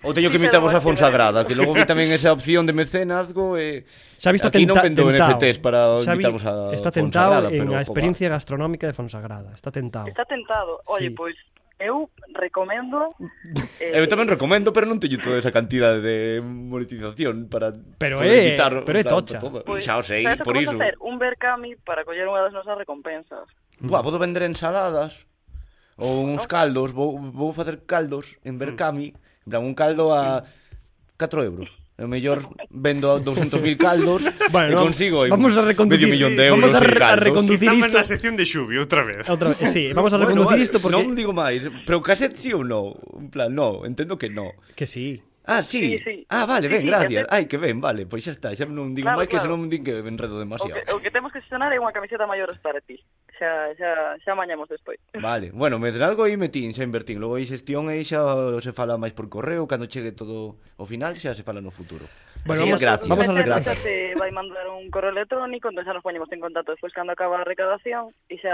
Speaker 2: Ou teño que imitar vos a Fonsagrada, que logo vi tamén esa opción de mecenazgo e
Speaker 3: Xavi está
Speaker 2: aquí non
Speaker 3: tenta-
Speaker 2: vendo
Speaker 3: tentao.
Speaker 2: NFTs para
Speaker 3: Xavi
Speaker 2: invitarvos a
Speaker 3: está
Speaker 2: Fonsagrada,
Speaker 3: tentado en
Speaker 2: pero jo,
Speaker 3: a experiencia gastronómica de Fonsagrada. Está tentado.
Speaker 14: Está tentado. Oye,
Speaker 3: Sí.
Speaker 14: pois eu recomendo eh,
Speaker 2: Eu tamén recomendo, pero non teño toda esa cantidade de monetización para
Speaker 3: Pero
Speaker 2: poder
Speaker 3: é-
Speaker 2: imitar
Speaker 3: pero é
Speaker 2: tanto
Speaker 3: tocha.
Speaker 2: todo.
Speaker 14: Pois,
Speaker 2: xa o sei,
Speaker 14: sabes o que
Speaker 2: por iso.
Speaker 14: vamos a Hacer? Un Berkami para coller unha das nosas recompensas.
Speaker 2: Buah, podo vender ensaladas. Ou uns caldos, vou, vou facer caldos en Berkami, en plan, un caldo a 4 euros. É o mellor vendo 200.000 caldos
Speaker 3: Bueno,
Speaker 2: e
Speaker 3: no,
Speaker 2: consigo aí
Speaker 3: vamos a reconducir-
Speaker 2: medio millón de euros
Speaker 3: vamos a
Speaker 2: en
Speaker 3: re- a
Speaker 2: caldos.
Speaker 3: reconducir Estamos isto.
Speaker 1: na sección de Xubi, outra vez.
Speaker 3: Outra vez, sí, vamos a
Speaker 2: Bueno, vale,
Speaker 3: reconducir isto porque...
Speaker 2: Non digo máis, pero case sí ou non? En plan, no, entendo que no.
Speaker 3: Que sí.
Speaker 2: Ah, sí.
Speaker 14: Sí, sí.
Speaker 2: Ah, vale,
Speaker 14: Sí,
Speaker 2: ben,
Speaker 14: sí,
Speaker 2: gracias.
Speaker 14: que-
Speaker 2: Ai, que ben, vale, pois xa está, xa non digo
Speaker 14: Claro,
Speaker 2: máis que
Speaker 14: claro.
Speaker 2: senón din que me enredo demasiado.
Speaker 14: O que temos que xestionar é unha camiseta maior para ti. Xa, xa, xa mañamos despois.
Speaker 2: Vale, bueno, me algo aí metín, xa invertín. Logo aí xestión aí xa se fala máis por correo, cando chegue todo o final xa se fala no futuro.
Speaker 3: Bueno,
Speaker 2: Así que
Speaker 3: vamos-
Speaker 2: gracias.
Speaker 3: Ah, vamos a
Speaker 2: gracias.
Speaker 3: retratar.
Speaker 14: Xa te vai mandar un correo electrónico, entón xa nos poñemos en contacto despois cando acaba a recadación e xa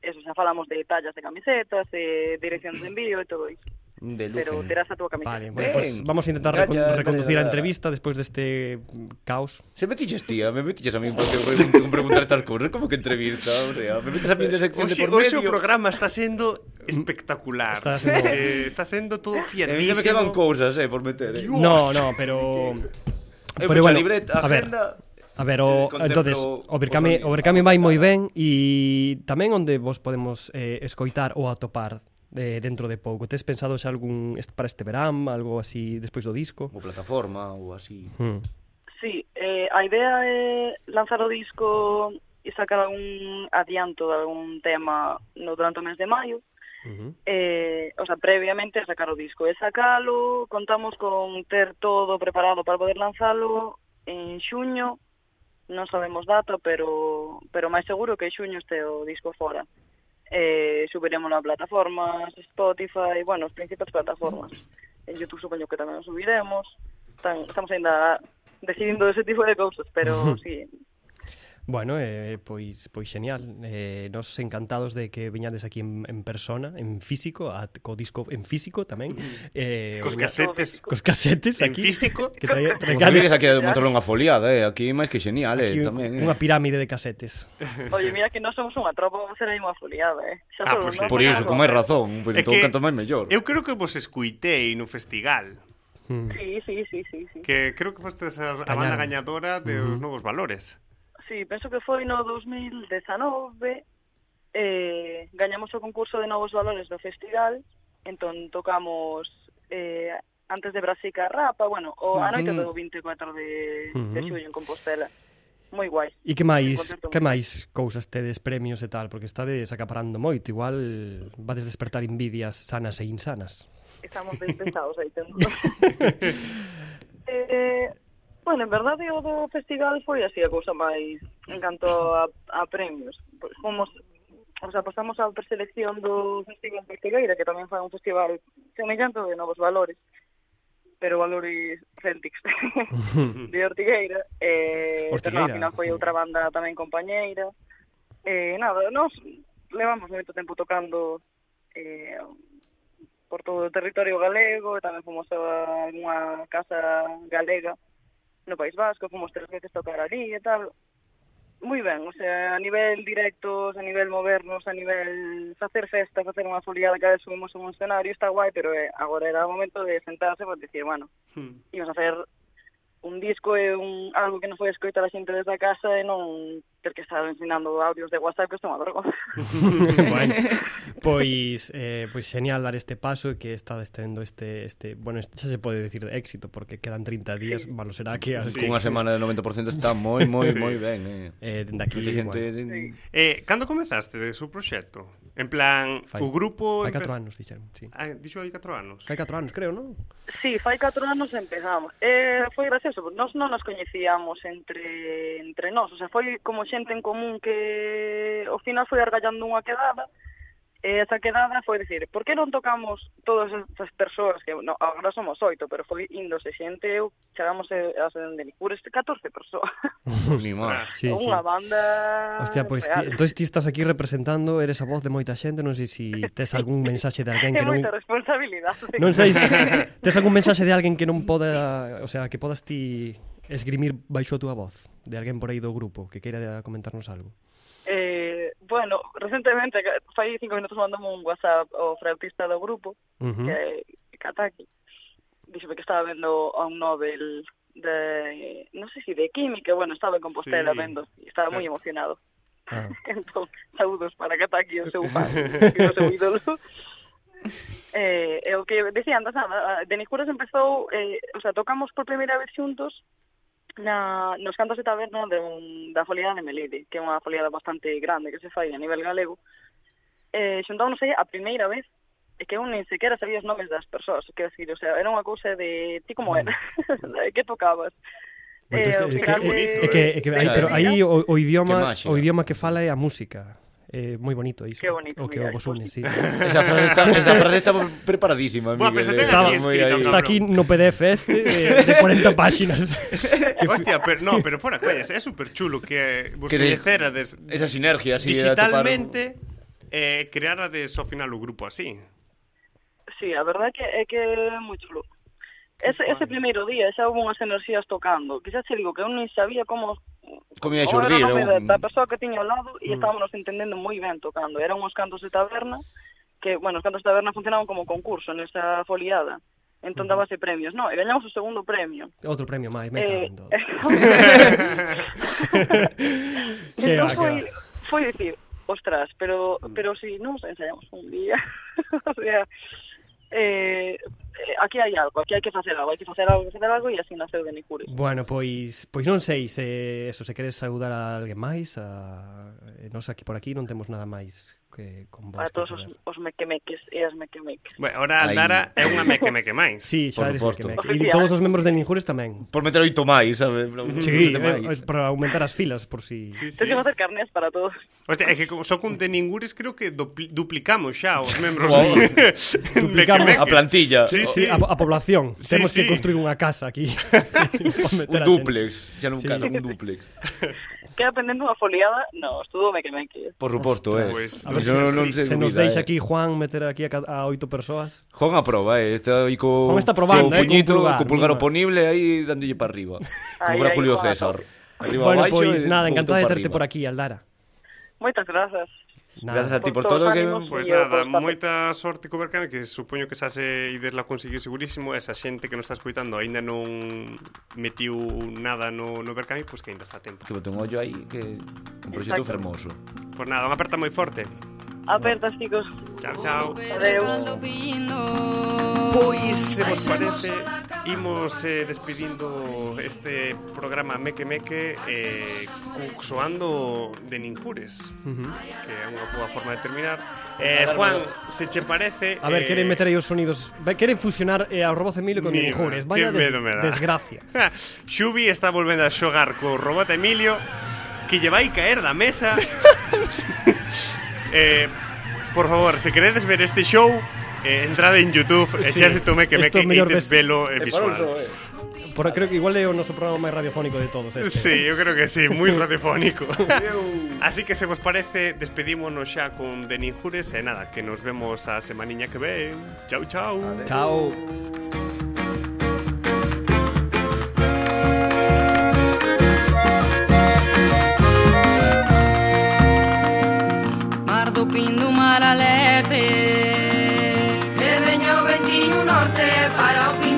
Speaker 14: eso, xa falamos de tallas de camisetas, de dirección de envío e todo iso.
Speaker 2: De
Speaker 14: Pero terás a túa camiseta.
Speaker 3: Vale, bueno,
Speaker 2: Ben.
Speaker 3: pues vamos a intentar
Speaker 2: Gacha,
Speaker 3: recon-
Speaker 2: gacha,
Speaker 3: reconducir a
Speaker 2: gacha.
Speaker 3: entrevista despois deste mm, caos.
Speaker 2: Se metiches, tía, me metiches a mí porque pregunto, preguntar estas cosas, como que entrevista, o sea, me metes a mí de sección de
Speaker 1: Hoxe,
Speaker 2: por
Speaker 1: hoxe o
Speaker 2: medio.
Speaker 1: programa está sendo espectacular.
Speaker 3: Mm. Está sendo-
Speaker 1: Eh, está sendo todo
Speaker 2: E ainda
Speaker 1: fiadísimo.
Speaker 2: me quedan cousas, eh, por meter. Eh.
Speaker 3: No, no, pero...
Speaker 2: Eu
Speaker 3: pero
Speaker 2: pero
Speaker 3: bueno,
Speaker 2: libreta,
Speaker 3: a ver,
Speaker 2: agenda.
Speaker 3: A ver, o,
Speaker 2: Eh,
Speaker 3: entonces,
Speaker 2: contemplo
Speaker 3: o Berkame,
Speaker 2: os
Speaker 3: o Berkame vai moi ben e tamén onde vos podemos eh, escoitar ou atopar eh, dentro de pouco. Tes pensado xa algún est- para este verán, algo así despois do disco?
Speaker 2: Ou plataforma, ou así.
Speaker 3: Hmm.
Speaker 14: Sí, eh, a idea é lanzar o disco e sacar algún adianto de algún tema no durante o mes de maio.
Speaker 3: Ujú.
Speaker 14: Eh, o sea, previamente sacar o disco e sacalo, contamos con ter todo preparado para poder lanzalo en xuño, non sabemos data, pero pero máis seguro que en xuño este o disco fora. Eh, subiremos a plataformas, Spotify, bueno, as principais plataformas. En YouTube supoño que tamén o subiremos. Tan, estamos ainda decidindo ese tipo de cousas, pero sí,
Speaker 3: Bueno, eh, pois pois genial. Eh, nos encantados de que viñades aquí en, en persona, en físico, a, co disco en físico tamén. Eh,
Speaker 1: Cos
Speaker 3: o-
Speaker 1: casetes.
Speaker 3: Cos casetes
Speaker 1: En
Speaker 3: aquí.
Speaker 1: físico.
Speaker 3: Que traía,
Speaker 2: Como se
Speaker 3: traía
Speaker 2: vedes aquí montar unha foliada, eh, aquí máis que genial, eh,
Speaker 3: aquí un-
Speaker 2: tamén. Eh.
Speaker 3: unha pirámide de casetes.
Speaker 14: Oye, mira que nós somos unha tropa, vamos a ser aí unha foliada, eh. Xa
Speaker 1: Ah,
Speaker 14: solo
Speaker 1: pois sí.
Speaker 14: nós
Speaker 2: Por iso,
Speaker 14: sacamos
Speaker 2: con máis
Speaker 14: algo.
Speaker 2: razón, pois
Speaker 1: É
Speaker 2: entón
Speaker 1: que-
Speaker 2: canto máis mellor.
Speaker 1: Eu creo que vos escuitei no festival.
Speaker 3: Hmm.
Speaker 14: Sí, sí, sí, sí, sí.
Speaker 1: Que creo que fostes a, a
Speaker 3: Gañaron.
Speaker 1: banda gañadora de
Speaker 3: Ujú.
Speaker 1: os novos valores.
Speaker 14: Sí, penso que foi no 2019 eh, gañamos o concurso de novos valores do festival entón tocamos eh, antes de Brasica Rapa bueno, o a
Speaker 3: Mm.
Speaker 14: noite
Speaker 2: Ujú.
Speaker 14: do 24 de, de
Speaker 3: Ujú.
Speaker 14: xullo en Compostela moi guai
Speaker 3: Mm-hmm. E que máis,
Speaker 14: Concerto
Speaker 3: que
Speaker 14: moi-
Speaker 3: máis cousas tedes premios e tal, porque estades acaparando moito, igual vades despertar envidias sanas e insanas.
Speaker 14: Estamos ben pesados aí tendo. eh, bueno, en verdade o do festival foi así a cousa máis en canto a, a premios. Pois Fomos O sea, pasamos á preselección do Festival de Ortigueira, que tamén foi un festival semellante ao de novos valores, pero valores céltics de Ortigueira. Eh,
Speaker 3: Ortigueira.
Speaker 14: pero nada, Ao final foi outra banda tamén compañeira. Eh, nada, nós levamos moito tempo tocando eh, por todo o territorio galego, e tamén fomos a unha casa galega no País Vasco, fomos tres veces tocar ali e tal. Moi ben, o sea, a nivel directos, a nivel movernos, a nivel facer festa, facer unha foliada cada vez subimos a un escenario, está guai, pero eh, agora era o momento de sentarse para dicir, bueno, íamos a facer un disco e un algo que non foi escoitar a xente desde a casa e non ter que estar ensinando audios de WhatsApp que isto é unha vergonza.
Speaker 3: bueno, pois eh, pois genial dar este paso e que está tendo este este, bueno, este, xa se pode decir de éxito porque quedan 30 días, malo será que as,
Speaker 2: Cunha semana de 90% está moi, moi, moi ben, eh.
Speaker 3: eh dende aquí,
Speaker 2: Moita
Speaker 3: bueno,
Speaker 2: xente...
Speaker 1: Eh, cando comenzaste de seu proxecto? En plan,
Speaker 3: Fai-
Speaker 1: o grupo...
Speaker 3: hai 4
Speaker 1: empez-
Speaker 3: anos dixeron, sí.
Speaker 1: Ah, dixo hai 4 anos.
Speaker 3: Hai 4 anos, creo, non?
Speaker 14: Sí, fai 4 anos empezamos. Eh, foi gracioso, porque nós non nos coñecíamos entre entre nós, o sea, foi como xente en común que ao final foi argallando unha quedada. E esa quedada foi dicir, por que non tocamos todas estas persoas que no, agora somos oito, pero foi índose xente, eu chegamos a, a Sendenicures 14 persoas.
Speaker 2: Ni máis.
Speaker 3: Sí,
Speaker 14: unha banda
Speaker 3: Hostia, pois ti,
Speaker 14: real.
Speaker 3: entonces ti estás aquí representando, eres a voz de moita xente, non sei se si tes algún mensaxe de alguén que
Speaker 14: É
Speaker 3: non
Speaker 14: moita responsabilidade.
Speaker 3: Non sei, se- tes algún mensaxe de alguén que non poda, o sea, que podas ti esgrimir baixo a túa voz, de alguén por aí do grupo que queira comentarnos algo.
Speaker 14: Eh, bueno, recentemente, ca- fai cinco minutos mandame un WhatsApp ao frautista do grupo,
Speaker 3: Ujú.
Speaker 14: que é Kataki. Díxeme que estaba vendo a un Nobel de, non sei se de química, bueno, estaba en Compostela
Speaker 1: Sí.
Speaker 14: vendo, e estaba moi
Speaker 1: Claro.
Speaker 14: emocionado.
Speaker 3: Ah.
Speaker 14: Entón, saúdos para Kataki, o seu pai, que é o seu ídolo. Eh, é o que decía antes, a- a- Denis Curas empezou, eh, o sea, tocamos por primeira vez xuntos na, nos cantos de taberna de un, da foliada de Melide, que é unha foliada bastante grande que se fai a nivel galego. Eh, xuntámonos aí a primeira vez é que eu nin sequera sabía os nomes das persoas, quero decir, o sea, era unha cousa de ti como era, que tocabas.
Speaker 3: Bueno,
Speaker 14: Eh,
Speaker 3: entonces, é
Speaker 14: ao final
Speaker 3: Mm. que-
Speaker 14: de-
Speaker 3: é que- é que aí-
Speaker 14: de
Speaker 3: pero aí
Speaker 14: primeira-
Speaker 3: o, o
Speaker 2: Que
Speaker 3: idioma
Speaker 2: máxica.
Speaker 3: o idioma que fala é a música. É moi bonito iso.
Speaker 14: Que bonito,
Speaker 3: o que
Speaker 14: mira,
Speaker 3: vos une, sí.
Speaker 2: Esa frase está, esa frase está preparadísima,
Speaker 1: Buah,
Speaker 2: Miguel. eh.
Speaker 1: pero se tenga
Speaker 2: Estaba
Speaker 1: aquí
Speaker 2: muy
Speaker 1: escrito,
Speaker 2: ahí.
Speaker 1: cabrón.
Speaker 3: Está aquí no PDF este eh, de, de 40 páxinas. Que fu-
Speaker 1: Ah, Hostia, pero no, pero fuera coñas, é super chulo que vos
Speaker 2: Que de-
Speaker 1: coñecerades
Speaker 2: esa sinergia, así, a topar-
Speaker 1: digitalmente eh, crearades ao final o grupo así.
Speaker 14: Sí, a verdade que é que é moi chulo. Ese, ese primeiro día xa houve unhas enerxías tocando, que xa che digo que eu nin sabía como...
Speaker 2: Comía
Speaker 14: Como
Speaker 2: xurdir,
Speaker 14: era o nome
Speaker 2: un-
Speaker 14: da, da persoa que tiña ao lado
Speaker 2: Mm.
Speaker 14: e estábamos entendendo moi ben tocando. Eran uns cantos de taberna, que, bueno, os cantos de taberna funcionaban como concurso nesa foliada. Entón dábase premios, no, e gañamos o segundo premio.
Speaker 3: Outro premio máis,
Speaker 14: Eh,
Speaker 3: me cago en todo. Que va,
Speaker 14: entón
Speaker 3: que
Speaker 14: foi,
Speaker 3: va.
Speaker 14: foi dicir, ostras, pero,
Speaker 2: Mm.
Speaker 14: pero si nos ensayamos un día, o sea, eh, eh, aquí hai algo, aquí hai que facer algo, hai que facer algo, hai que facer algo, e así naceu de Nicures.
Speaker 3: Bueno, pois pois non sei se eso se queres saudar a alguén máis, a eh, nós aquí por aquí non temos nada máis que con vos.
Speaker 14: Para todos os, os mequemeques e as mequemeques.
Speaker 1: Bueno, ahora
Speaker 2: Ahí.
Speaker 1: Andara é unha meque meque máis.
Speaker 3: Sí,
Speaker 2: Por
Speaker 3: xa eres
Speaker 2: suposto.
Speaker 3: mequemeque. E todos os membros del Injures tamén.
Speaker 2: Por meter oito máis, sabe?
Speaker 3: Sí,
Speaker 2: Meter máis.
Speaker 3: eh, es para aumentar as filas por si. Sí,
Speaker 14: Tens que facer carnes para todos.
Speaker 1: Hostia, é que como só con Teningures creo que dupli duplicamos xa os membros.
Speaker 2: Wow.
Speaker 1: de-
Speaker 3: Duplicamos
Speaker 1: meque-meque.
Speaker 2: A plantilla.
Speaker 1: Sí, sí.
Speaker 3: A, a población.
Speaker 1: Sí,
Speaker 3: Temos
Speaker 1: sí.
Speaker 3: que construir unha casa aquí.
Speaker 2: Un duplex, ya non
Speaker 3: Sí.
Speaker 2: cara, un duplex.
Speaker 14: Queda pendente unha foliada, no, estudo mequemeques.
Speaker 2: Por suposto,
Speaker 3: Ostras,
Speaker 2: é.
Speaker 1: Pues,
Speaker 3: A ver
Speaker 2: Yo
Speaker 3: se,
Speaker 2: non sei
Speaker 3: se, se nos
Speaker 2: dúbida, eh.
Speaker 3: deixa aquí Juan meter aquí a, ca- a oito persoas.
Speaker 2: Juan a proba, eh. Está aí co,
Speaker 3: Juan está probando,
Speaker 2: co
Speaker 3: eh, con
Speaker 2: puñito,
Speaker 3: pulgar,
Speaker 2: co pulgar
Speaker 3: mira.
Speaker 2: oponible, aí dándolle para arriba. Como
Speaker 14: Ahí,
Speaker 2: para
Speaker 14: ahí,
Speaker 2: Julio
Speaker 14: Juan, a
Speaker 2: César.
Speaker 14: tope.
Speaker 2: Arriba,
Speaker 3: bueno,
Speaker 2: abaixo,
Speaker 3: pois
Speaker 2: e botou
Speaker 3: nada, encantada de
Speaker 2: para
Speaker 3: terte
Speaker 2: arriba.
Speaker 3: por aquí, Aldara.
Speaker 14: Moitas grazas.
Speaker 3: Nada.
Speaker 2: Grazas a ti por
Speaker 14: Por todos
Speaker 2: todo
Speaker 14: os
Speaker 2: que
Speaker 14: ánimos.
Speaker 1: Pois
Speaker 14: Yo,
Speaker 1: Pues
Speaker 14: pues,
Speaker 1: nada,
Speaker 14: pois, papi.
Speaker 1: moita sorte co Berkane que supoño que xa se ides la conseguir segurísimo esa xente que nos está escoitando aínda non metiu nada no, no Berkane pois que aínda está a tempo.
Speaker 2: que botou un ollo aí que un proxecto
Speaker 14: Exacto.
Speaker 2: fermoso.
Speaker 1: Pois nada, unha aperta moi forte.
Speaker 14: Apertas, chicos.
Speaker 1: Chao, chao.
Speaker 14: Adeu.
Speaker 1: Pois, Pues, se vos parece, imos eh, despedindo este programa Meque Meque eh, cu- soando de Ninjures,
Speaker 3: Ujú.
Speaker 1: que é unha boa forma de terminar. Eh, Juan, se che parece...
Speaker 3: A ver,
Speaker 1: eh,
Speaker 3: queren meter aí os sonidos. Ve- Queren fusionar eh, a Roboz Emilio con
Speaker 1: Mira, que
Speaker 3: Injures. Vaya des-
Speaker 1: medo me dá.
Speaker 3: desgracia.
Speaker 1: Xubi está volvendo a xogar co robot Emilio que lle vai caer da mesa. eh, por favor, se queredes ver este show, eh, entrade en YouTube,
Speaker 3: Sí,
Speaker 1: exército meque
Speaker 3: isto
Speaker 1: meque
Speaker 3: é mellor
Speaker 1: e
Speaker 3: ves-
Speaker 1: desvelo eh, visual.
Speaker 3: Por, creo que igual é o noso programa máis radiofónico de todos este.
Speaker 1: Sí, eu creo que sí, moi radiofónico. Así que se vos parece, despedímonos xa con The Ninjures e nada, que nos vemos a semaniña que ven. Chau, chau.
Speaker 3: Chao.
Speaker 15: Mar do Pin do Mar Alegre E veña o ventiño norte para o Pin